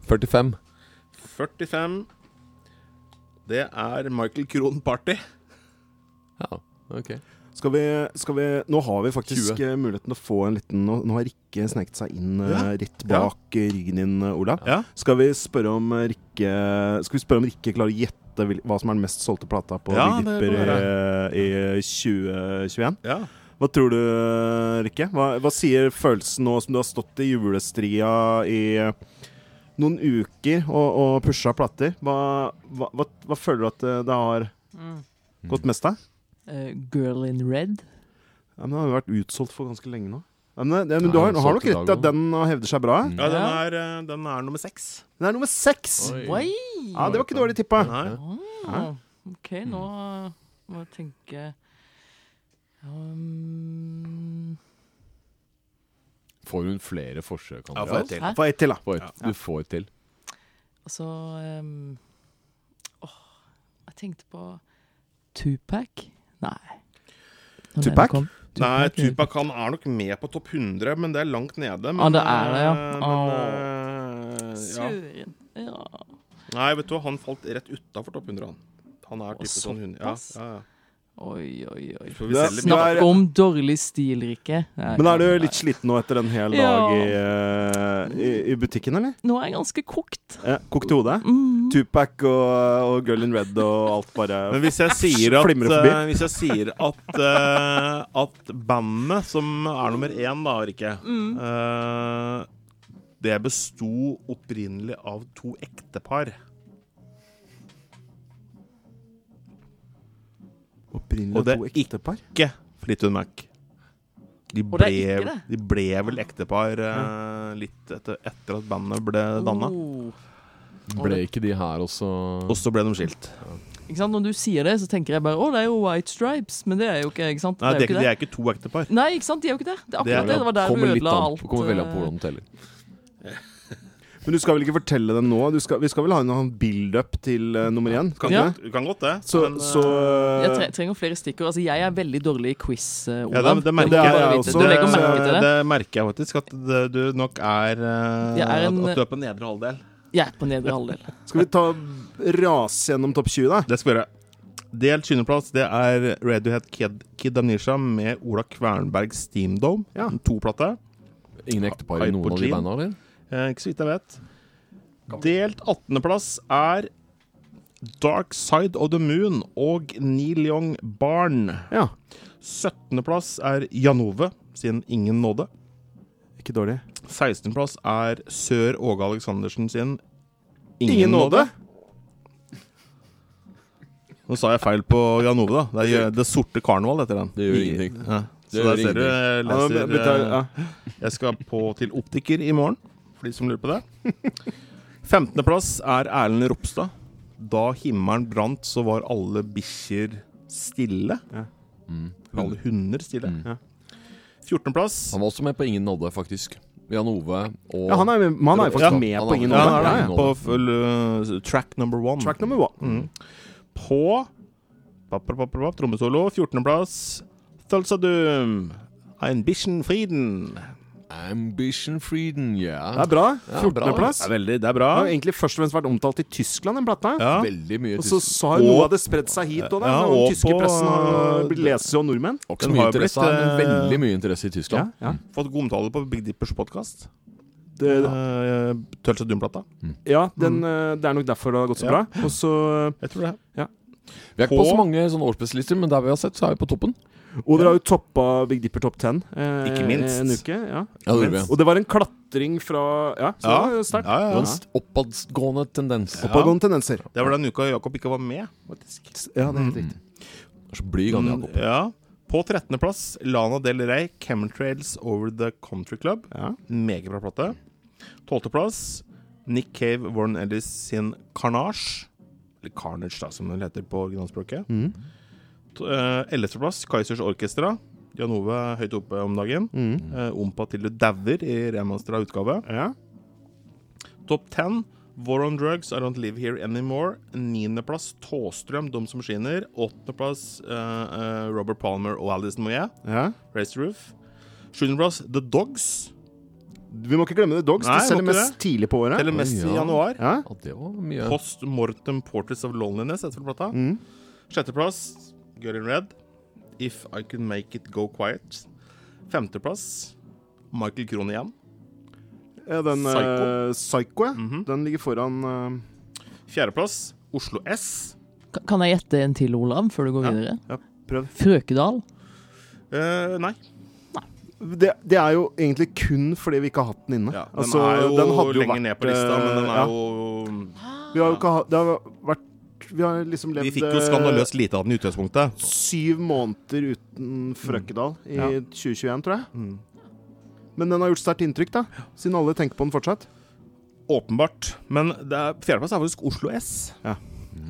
45.
45. Det er Michael Krohn Party.
Ja, ok.
Skal vi, skal vi Nå har vi faktisk
20.
eh, muligheten til å få en liten Nå, nå har Rikke sneket seg inn eh, rett bak eh, ryggen din, eh, Olav.
Ja.
Skal vi spørre om eh, Rikke Skal vi spørre om Rikke klarer å gjette hvil- hva som er den mest solgte plata på
Ja,
Big
det
Dipper
kan
i, i 2021?
Ja.
Hva tror du, eh, Rikke? Hva, hva sier følelsen nå som du har stått i julestria i eh, noen uker og, og pusha plater? Hva, hva, hva, hva føler du at eh, det, det har gått mest av?
Eh, Girl in Red.
Ja, men Den har jo vært utsolgt for ganske lenge nå. Ja, men det, men du
Ja,
har,
den
har nok
solgte i
rett
dag
i at den uh, hevder seg bra.
ja, den er, eh, den er nummer seks.
Den er nummer seks!
Oi.
Ja, det var ikke dårlig tippa.
Nei.
Ja.
OK, nå
Mm.
eh, må jeg tenke um,
Får hun flere forsøk?
Ja,
Andreas?
til.
Hæ?
Få ett til, da.
Får et- Du får et til.
Altså um, åh, Jeg tenkte på Tupac. Nei. Når den
Tupac?
kom.
Nei,
ja.
Tupac han er nok med på topp 100, men det er langt nede. Men,
Ah, det er det, ja.
eh, Men, eh, ja.
Søren. Ja.
Nei, vet du hva, han falt rett utafor topp 100, han. Han er
Å,
type sånn hund... Ja,
såpass.
ja, ja.
Oi, oi, oi.
Får vi selge
Snakk-
mye.
Snakk
er-
om dårlig stil, Rikke. Nei,
Men er du
nei.
litt sliten nå etter en hel
Ja.
dag i, eh, i, i butikken, eller?
Nå er jeg ganske kokt.
Ja, kokt i hodet?
Mm.
Tupac og, og Girl in Red og alt bare
Men hvis jeg sier at,
Flimrer forbi.
eh, hvis jeg sier at, eh, at bandet, som er nummer én, da, Rikke
Mm.
eh, Det besto opprinnelig av to ektepar.
Opprinnelig
Og det
to
er
ektepar?
Ikke Flitun Mac. De
Og det
ble,
er ikke det?
de ble vel ektepar eh, litt etter, etter at bandet ble
Oh.
danna.
Ble ikke de her også
Og så ble de skilt.
Ikke sant? Når du sier det, så tenker jeg bare å, det er jo White Stripes, men det er jo ikke ikke sant?
Nei, det er,
jo
ikke, det er ikke to ektepar.
Nei, ikke sant? De er jo ikke det. Det er
Det er-
akkurat det. Det var der du
Kommer litt
ødela
an
alt.
på- kommer veldig an
eh,
på hvordan du teller.
Men du skal vel ikke fortelle dem nå? Du skal, vi skal vel ha en annen build-up til eh, nummer én?
Kan
vi
godt-
ikke?
vi kan godt det,
Så,
men, eh,
så
Jeg tre trenger flere stikkord. Altså, jeg er veldig dårlig i quiz, eh,
Ja,
Olav.
det, det
Du må
merker jeg,
bare vite-
også.
Du legger merke til
det.
det.
merker jeg faktisk, at det, du nok er, eh,
Jeg er en-
At du er på nedre halvdel.
Jeg er på nedre halvdel.
Skal vi ta rase gjennom topp 20, da?
Det skal vi gjøre. Delt sjuendeplass, det er Radiohead Kid, Kid Amnesia med Ola Kvernberg Steam Dome. To plater.
Ingen ektepar i noen av de banda, eller?
Eh, ikke så vidt jeg vet. Delt 18.-plass er Dark Side of the Moon og Neil Young Barn.
Ja.
17.-plass er Janove sin Ingen nåde.
Ikke dårlig.
16.-plass er Sør Åge Aleksandersen sin Ingen,
Ingen nåde.
nåde. Nå sa jeg feil på Janove, da. Det, er, jo- det sorte karneval heter den.
Det gjør ingenting.
Ja. Så
Det gjør
der ser du jeg
ingenting.
Ja, men-
leser
betal-
eh, Jeg skal på til optiker i morgen, for de som lurer på det. 15.-plass er Erlend Ropstad. Da himmelen brant, så var alle bikkjer stille. Mm.
Mm.
Alle hunder stille. 14.-plass.
Han var også med på Ingen nådde, faktisk. Jan Ove og
Ja, han er med- han er jo faktisk
Ja,
med
han
på
er
Ingen
med
nåde.
på
Ja, ja, ja.
Ingen
På
nåde.
full eh, track number one.
Track number one.
Mm. På pap, pap, pap, pap, trommesolo, 14.-plass, Thulsadum. Ambition Frieden.
Ambition Freedom, ja.
Det er bra.
Ja,
14.-plass.
Det er veldig- det er bra.
har jo egentlig først og fremst vært omtalt i Tyskland, den plata.
Ja.
Veldig mye
Og så
tysk-
sa jo
Og-
noe av det spredt seg hit òg, da.
Ja,
når
og
den tyske
på-
pressen har blitt leses av nordmenn.
Ikke så
Den
mye
har jo
interesse
blitt,
her, men
eh,
veldig mye interesse i Tyskland.
Ja, ja.
Fått god omtale på Big Dippers podkast.
Det,
Uh, Tølsadum-plata.
ja, den, eh, det er nok derfor det har gått så bra. Og så
Jeg tror det.
Vi er ikke på
På-
så mange sånne årsspesialister, men der vi har sett, så er vi på toppen.
eh, Og dere har jo toppa Big Dipper Top 10 eh,
Ikke minst.
en uke. Ja.
Ja, det gjorde vi.
Og det var en klatring fra Ja, så
Ja.
det var jo sterkt.
Ja, ja,
Det var
ja.
en st- oppadgående tendens.
Pågående tendenser.
Det var den uka Jakob ikke var med, faktisk.
Ja, det er
Mm.
helt riktig.
Så blyg han Jakob.
Mm, Ja. På 13.-plass Lana Del Rey, 'Chemtrails Over The Country Club'.
Ja.
Meget bra plate. 12.-plass Nick Cave Warren Ellis sin 'Carnage'. Eller 'Carnage', da, som den heter på originalspråket.
Mhm.
T- eh, 11.-plass Kaizers Orkestra. Janove er høyt oppe om dagen.
Mhm.
Eh, Ompa til du dauer i remastera utgave.
Ja.
Topp 10 War on Drugs, I Don't Live Here Anymore. Niendeplass Tåstrøm, De som skinner. Åttendeplass eh, eh, Robert Palmer og Alison Moyet.
ja.
Raise the Roof. Sjuendeplass The Dogs.
Vi må ikke glemme The Dogs.
Nei,
de selger
må ikke
mest tidlig på året.
Eller mest
ja.
i januar.
Ja.
Ja, det var mye.
Post Mortem Portraits of Loneliness heter vel plata.
Mm.
Sjetteplass Girl in Red. If I Could Make It Go Quiet. Femteplass Michael Krohn igjen.
Ja, den eh,
Psycho.
Psycho, ja.
Mhm.
Den ligger foran eh,
Fjerdeplass Oslo S.
Ka- Kan jeg gjette en til, Olav, før du går
Ja.
videre?
Ja, prøv.
Frøkedal.
Eh, nei.
det, det er jo egentlig kun fordi vi ikke har hatt den inne.
Ja, den
Altså,
er jo eh,
den hadde jo
lenger
vært, eh,
ned på lista, men den er
ja.
jo
Vi har jo ikke hatt Det har vært Vi har liksom levd eh,
Vi fikk jo skandaløst lite av den i utgangspunktet.
syv måneder uten Frøkedal i
Mm. Ja.
2021, tror jeg.
Mm.
Men den har gjort sterkt inntrykk, da. Siden alle tenker på den fortsatt.
Åpenbart. Men det er- fjerdeplass er faktisk Oslo S.
Ja.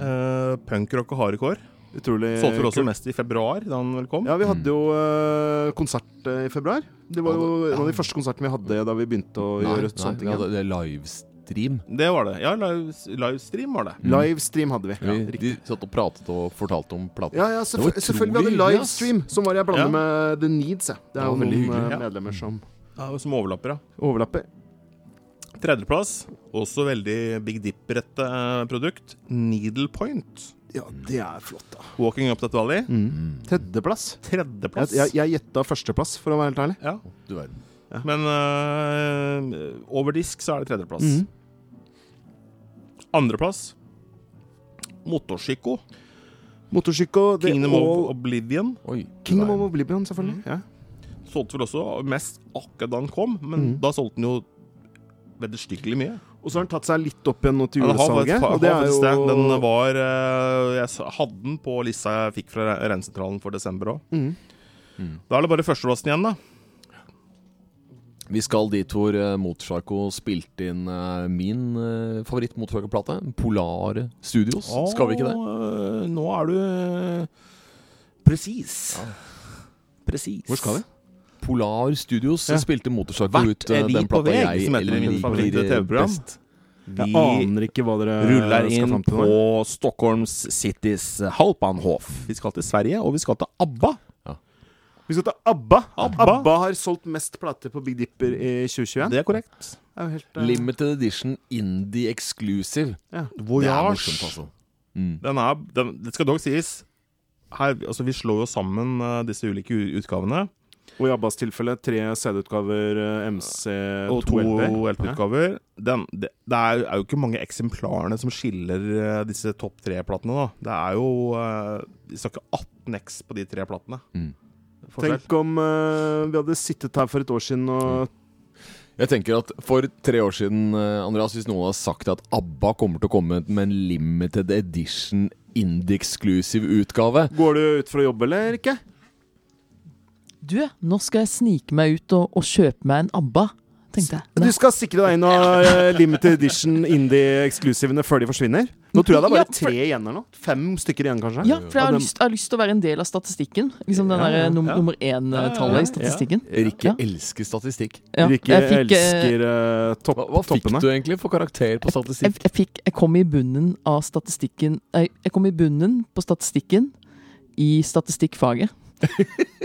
Eh, Punkrock og hardcore.
Utrolig
Solgte vel også
kult.
mest i februar, da han vel kom.
Ja, vi hadde jo eh, konsert eh, i februar. Det var jo en av de første konsertene vi hadde da vi begynte å
Nei,
gjøre
nei,
sånne ting.
vi
igjen.
hadde det livestream.
Det var det. Ja, live, livestream var det.
Livestream hadde vi.
Vi, de satt og pratet og fortalte om platen.
Ja, ja,
Det var
selvfø
utrolig
selvfølgelig. Vi hadde
hyggelig, ass.
livestream, som var jeg
Ja.
blander med The Needs. Jeg. Det
Det
er jo
var veldig
noen
hyggelig,
eh,
ja.
medlemmer som
Ja, det var Som overlapper, ja.
overlapper.
Tredjeplass, også veldig Big Dipper-ete eh, produkt. Needle Point.
Ja, det er flott, da.
Walking Up That Valley.
Mm,
Tredjeplass. Jeg,
Tredjeplass.
jeg, jeg gjetta førsteplass, for å være helt ærlig.
Ja.
Du verden.
Men eh, over disk så er det tredjeplass. Andreplass Motorpsycho.
Motorsyko, The
Kingdom
All
of Mm. Oblivion.
Oi. du
Kingdom
verden.
of Oblivion, selvfølgelig. Ja.
Solgte vel også mest akkurat da den kom, men da solgte den jo vederstykkelig mye.
Og så har den tatt seg litt opp igjen nå til
Ja, det har faktisk-
julesalget.
har
Og det er
faktisk det. Den
jo
var eh, Jeg s- hadde den på lista jeg fikk fra re- rensentralen for desember òg.
Mhm.
Mm.
Da er det bare førsteplassen igjen, da.
Vi skal dit hvor eh, Motorpsycho spilte inn eh, min eh, favoritt-Motorpsycho-plate, Polar Studios. skal vi ikke det?
Å, Nå er du eh, presis. Presis.
Hvor skal vi? Polar Studios
Ja.
spilte Motorpsycho
Hvert
ut
er
eh,
vi
den
på
plata
vei,
jeg
som heter i mitt favoritte TV-program.
eh, best.
Vi eh,
Jeg aner ikke hva dere
ruller
skal
inn
fram til
på
nå.
Stockholms Cities Halpanhof. Vi skal til Sverige, og vi skal til ABBA.
Vi skal ta ABBA. ABBA. har solgt mest plater på Big Dipper i 2021.
Det er korrekt.
Det er jo helt, eh,
Limited edition indie exclusive.
Ja.
Det er
Voyage.
morsomt, altså.
Den er, den, det skal dog sies her, altså Vi slår jo sammen eh, disse ulike u- utgavene.
Og i Abbas tilfelle tre CD-utgaver, eh, MC,
Og to LP-utgaver. Den- Det, det er, er jo ikke mange eksemplarene som skiller eh, disse topp tre-platene. da Det er jo eh, Vi snakker 18 X på de tre platene. Forskjell.
Tenk om eh, vi hadde sittet her for et år siden og
Jeg tenker at For tre år siden, eh, Andreas, hvis noen har sagt at ABBA kommer til å komme med en limited edition indie-exclusive utgave
Går du ut for å jobbe, eller ikke?
Du, nå skal jeg snike meg ut og, og kjøpe meg en ABBA, tenkte jeg.
Du skal sikre deg inn av eh, limited edition indie-eksklusivene før de forsvinner. Nå tror jeg det er
Ja,
bare
for-
tre igjen eller noe. Fem stykker igjen, kanskje.
Ja, for jeg
Av
har,
dem-
lyst, jeg har lyst til å være en del av statistikken. Liksom den
Ja,
der
ja,
num
ja.
nummer
Ja, ja,
én-tallet
ja.
i statistikken.
Rikke elsker statistikk.
Ja,
Rikke
jeg fikk, eh,
elsker eh, topp,
Hva, hva fikk
toppene.
du egentlig for karakter på
Jeg,
statistikk?
jeg, fikk, jeg kom i bunnen av statistikken Nei, jeg kom i bunnen på statistikken i statistikkfaget.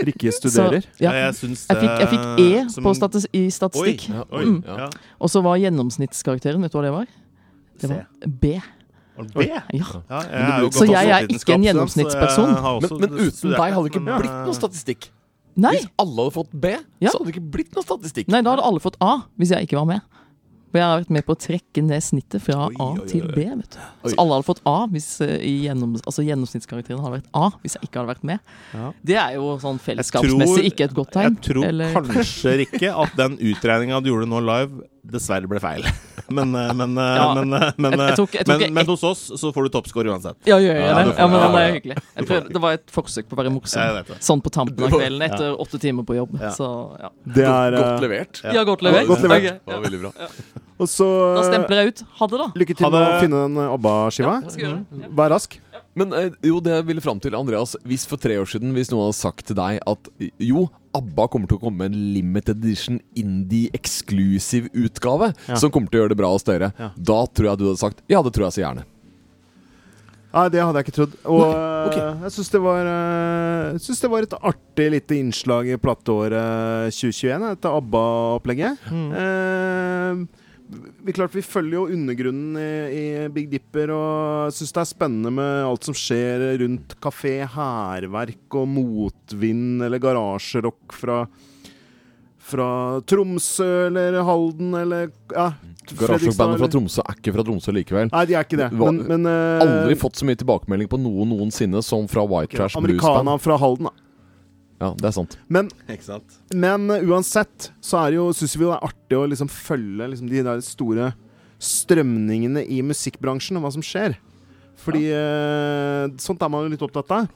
Rikke studerer.
Så,
Ja,
ja.
jeg syns
Jeg fikk, jeg fikk E
det
på
som-
statis i statistikk.
Oi, ja, oi,
Mm.
ja.
Og så var gjennomsnittskarakteren, vet du hva det var? Det var
B?
B. Ja.
Ja, jeg er
Men det
jo
brukes- så
godt
jeg
også
er ikke
vitenskap,
en
så jeg
gjennomsnittsperson.
har også
Men, men uten
studert
deg hadde
litt,
det ikke sånn,
men,
blitt
eh,
noe statistikk.
Nei.
Hvis alle hadde fått B,
Ja.
så hadde det ikke blitt noe statistikk.
Nei, da hadde alle fått A hvis jeg ikke var med. For jeg har vært med på å trekke ned snittet fra A til B. vet du. Så alle hadde fått A hvis eh, i gjennom, altså gjennomsnittskarakteren hadde vært A hvis jeg ikke hadde vært med. Det er jo sånn fellesskapsmessig ikke et godt tegn.
Jeg tror
eller-
kanskje ikke at den utregninga du gjorde nå live, dessverre ble feil. Men, eh, men, eh,
Ja,
men, eh, men,
jeg- jeg tror ikke- jeg tror
eh,
ikke-
men, men hos oss så får du toppscore uansett.
Ja, gjør jeg det?
du får-
Ja, men
ja,
Det er
ja.
jo hyggelig. Jeg prøvde, det var et forsøk på å være
Jeg
morsom
vet det.
sånn på tampen av kvelden
Ja.
etter åtte timer på jobb. Så ja.
Det er eh,
Godt levert.
Ja, godt levert.
Godt levert.
Ok,
Det var veldig bra.
Og så
Da
eh,
stempler jeg ut. Ha det, da.
lykke til
Ha
med å
det.
finne den eh, ABBA-skiva.
Skal gjøre det.
Vær rask.
Men eh, jo, det jeg ville fram til, Andreas Hvis for tre år siden Hvis noen hadde sagt til deg at jo, ABBA kommer til å komme med en limited edition indie-eksklusiv utgave som kommer til å gjøre det bra hos dere, da tror jeg du hadde sagt ja, det tror jeg så gjerne.
Nei, det hadde jeg ikke trodd. Og
Nei, ok.
eh, jeg syns det, var, eh, jeg synes det var et artig lite innslag i plateåret 2021, dette ABBA-opplegget.
Mm.
Eh, vi, klart, vi følger jo undergrunnen i, i Big Dipper og syns det er spennende med alt som skjer rundt kafé, hærverk og motvind eller garasjerock fra fra Tromsø eller Halden eller ja,
Garasjebandet fra
eller-
Tromsø er ikke fra Tromsø likevel.
Nei, de er ikke det.
Hva-
Men, men eh,
Aldri fått så mye tilbakemelding på noe noensinne som fra White
Ok, da.
Trash Blues Band.
Americana fra Halden, da.
Ja, det er sant.
Men,
Ikke sant?
men eh, uansett så er det jo, syns vi det er artig å liksom følge liksom de der store strømningene i musikkbransjen og hva som skjer. Fordi eh, sånt er man jo litt opptatt av.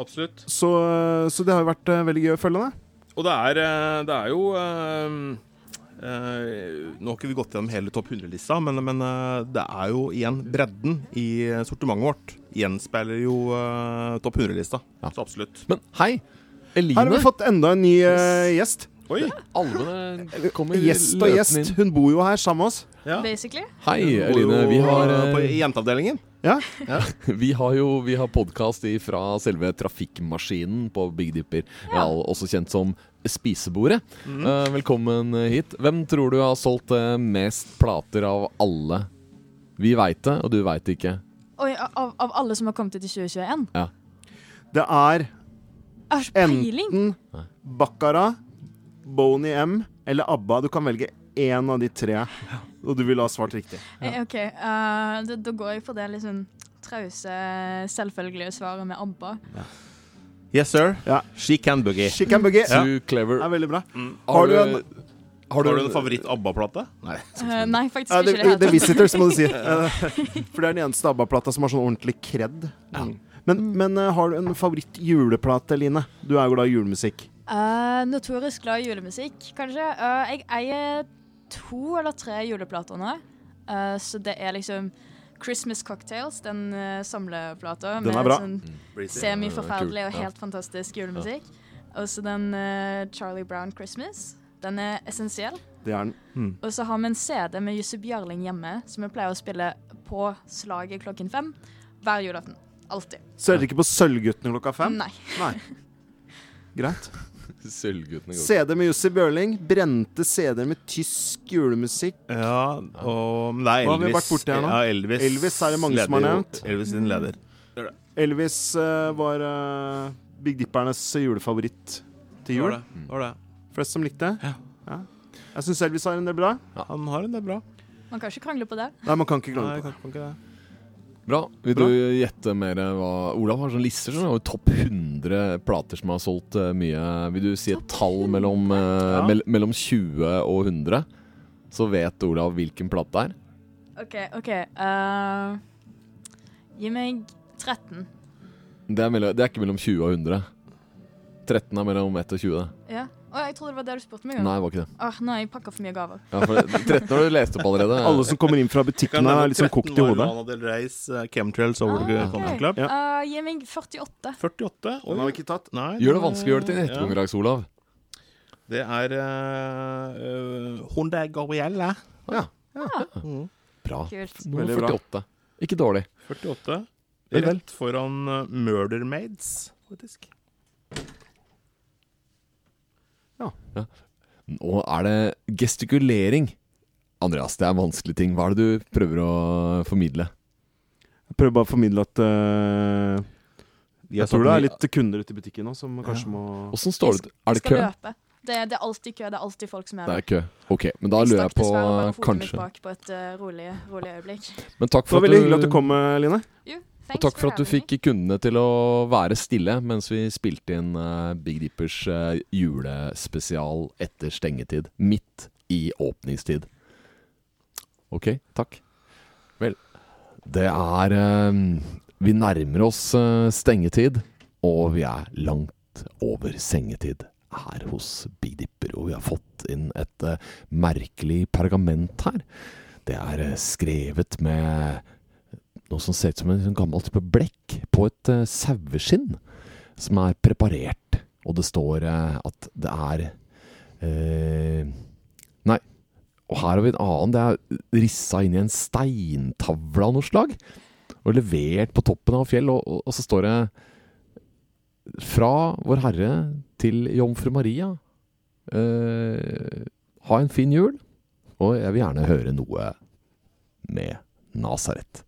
Absolutt.
Så, så det har jo vært eh, veldig gøy å følge det.
Og det er, eh, det er jo eh, eh, Nå har ikke vi gått gjennom hele topp 100-lista, men, men eh, det er jo igjen bredden i sortimentet vårt gjenspeiler jo eh, topp 100-lista.
Ja.
Så absolutt.
Men hei,
Her har
Eline.
vi fått enda en ny eh, gjest.
Oi!
Alvene kommer
Gjest og
løpende
gjest.
inn.
Hun bor jo her sammen med oss.
Basically.
Hei, Eline. Vi har,
eh, på
eh,
jenteavdelingen.
Vi har jo vi har podkast fra selve Trafikkmaskinen på Big Dipper. Ja. Også kjent som Spisebordet. Eh, velkommen hit. Hvem tror du har solgt eh, mest plater av alle? Vi veit det, og du veit det ikke.
Oi, av, av alle som har kommet ut i 2021?
Det er
Jeg har ikke peiling.
enten Baccara, Boney M eller ABBA. Du kan velge én av de tre, og du vil ha svart riktig.
Eh, OK, eh, da, da går jeg for det liksom trause, selvfølgelige svaret med ABBA.
Yes, sir.
Ja.
She can boogie.
Chicken boogie
Too
ja.
clever. Mm.
er veldig bra.
Har du en
Har du en favoritt ABBA-plate? Nei.
Eh, nei, faktisk
Ja,
ikke i
det,
det hele
The
tatt.
Visitors, må du si. Eh, For det er den eneste ABBA-plata som har sånn ordentlig Mm.
Mm.
kred. Men, men eh, har du en favoritt juleplate, Line? Du er jo glad i julemusikk.
Eh, notorisk glad i julemusikk, kanskje. Eh, jeg eier to eller tre juleplater nå. Eh, så det er liksom Christmas Cocktails, den uh, samleplata.
Den er bra.
Sånn
Mm. Breezy.
Semiforferdelig
Ja,
og
kult. Ja.
helt fantastisk julemusikk. Og så den eh, Charlie Brown Christmas. Den er essensiell.
Det er den.
Mm.
Og så har vi en CD med Jussi Bjørling hjemme, som vi pleier å spille på slaget klokken fem hver julaften. Alltid.
Så er dere ikke på Sølvguttene klokka fem?
Nei.
Greit.
Sølvguttene går
CD med Jussi Bjørling. Brente CD-er med tysk julemusikk.
Ja, og men det er Elvis.
Hva har vi vært borti her nå?
Ja, Elvis,
er det mange som har
leder jo-
nevnt.
Elvis sin leder.
Elvis eh, var eh, Big Dippernes julefavoritt til jul.
Var det, var det.
Flest som likte. Ja. Jeg syns Elvis har en del bra.
Han har en del bra.
Man kan ikke krangle på det.
Nei, man kan ikke
Nei,
glemme
kan- kan ikke det.
Bra. Vil du gjette mer hva Olav har sånn lister som har jo topp 100 plater som har solgt eh, mye. Vil du si et tall mellom, eh, mell- mellom 20 og 100? Så vet Olav hvilken plate det er.
OK, OK. eh, gi meg 13.
Det er, mellom, det er ikke mellom 20 og 100. 13 er mellom 1 og 20.
Ja. Å, jeg trodde det var det du spurte meg om.
Nei, det var ikke det.
Åh, nå har jeg pakka for mye gaver.
Ja, for det- 13 har du lest opp allerede.
Alle som kommer inn fra butikken her, er litt sånn kokt i hodet.
Lana Del Reys eh, Chemtrails over the Country Club.
Eh, gi meg 48.
48.
Den har vi ikke tatt.
Nei, den
Gjør det
er-
vanskelig å gjøre det til en etterkonkurranse, Olav.
Det er uh, Honda Gabriella.
Ja. Bra.
Kult.
Nummer
Veldig bra.
48. Ikke dårlig.
48.
Vel, vel.
Rett foran eh, Murder Maids, faktisk.
Nå er det gestikulering. Andreas, det er vanskelige ting. Hva er det du prøver å formidle?
Jeg prøver bare å formidle at eh,
har
Jeg tror det er
tatt mye-
litt kunder ute i butikken nå som kanskje må
Åssen står det Er det
Skal
kø?
løpe. Det, det er alltid kø. Det er alltid folk som er
Det
der.
er kø. Ok, men da lurer jeg på
Dessverre bare hodet mitt
kanskje.
bak på et eh, rolig, rolig øyeblikk.
Men takk for
Det var veldig hyggelig
at
at du kom, eh, Line.
Jo,
Og takk for at du fikk kundene til å være stille mens vi spilte inn eh, Big Dippers eh, julespesial etter stengetid. Midt i åpningstid. Ok, takk. Vel, det er eh, Vi nærmer oss eh, stengetid, og vi er langt over sengetid her hos Big Dipper. Og vi har fått inn et eh, merkelig pergament her. Det er eh, skrevet med noe som ser ut som en sånn gammel type blekk på et eh, saueskinn som er preparert. Og det står eh, at det er eh, Nei. Og her har vi en annen. Det er rissa inn i en steintavle av noe slag. Og levert på toppen av et fjell. Og, og, og så står det Fra Vår Herre til Jomfru Maria. Eh, ha en fin jul. Og jeg vil gjerne høre noe med Nasaret.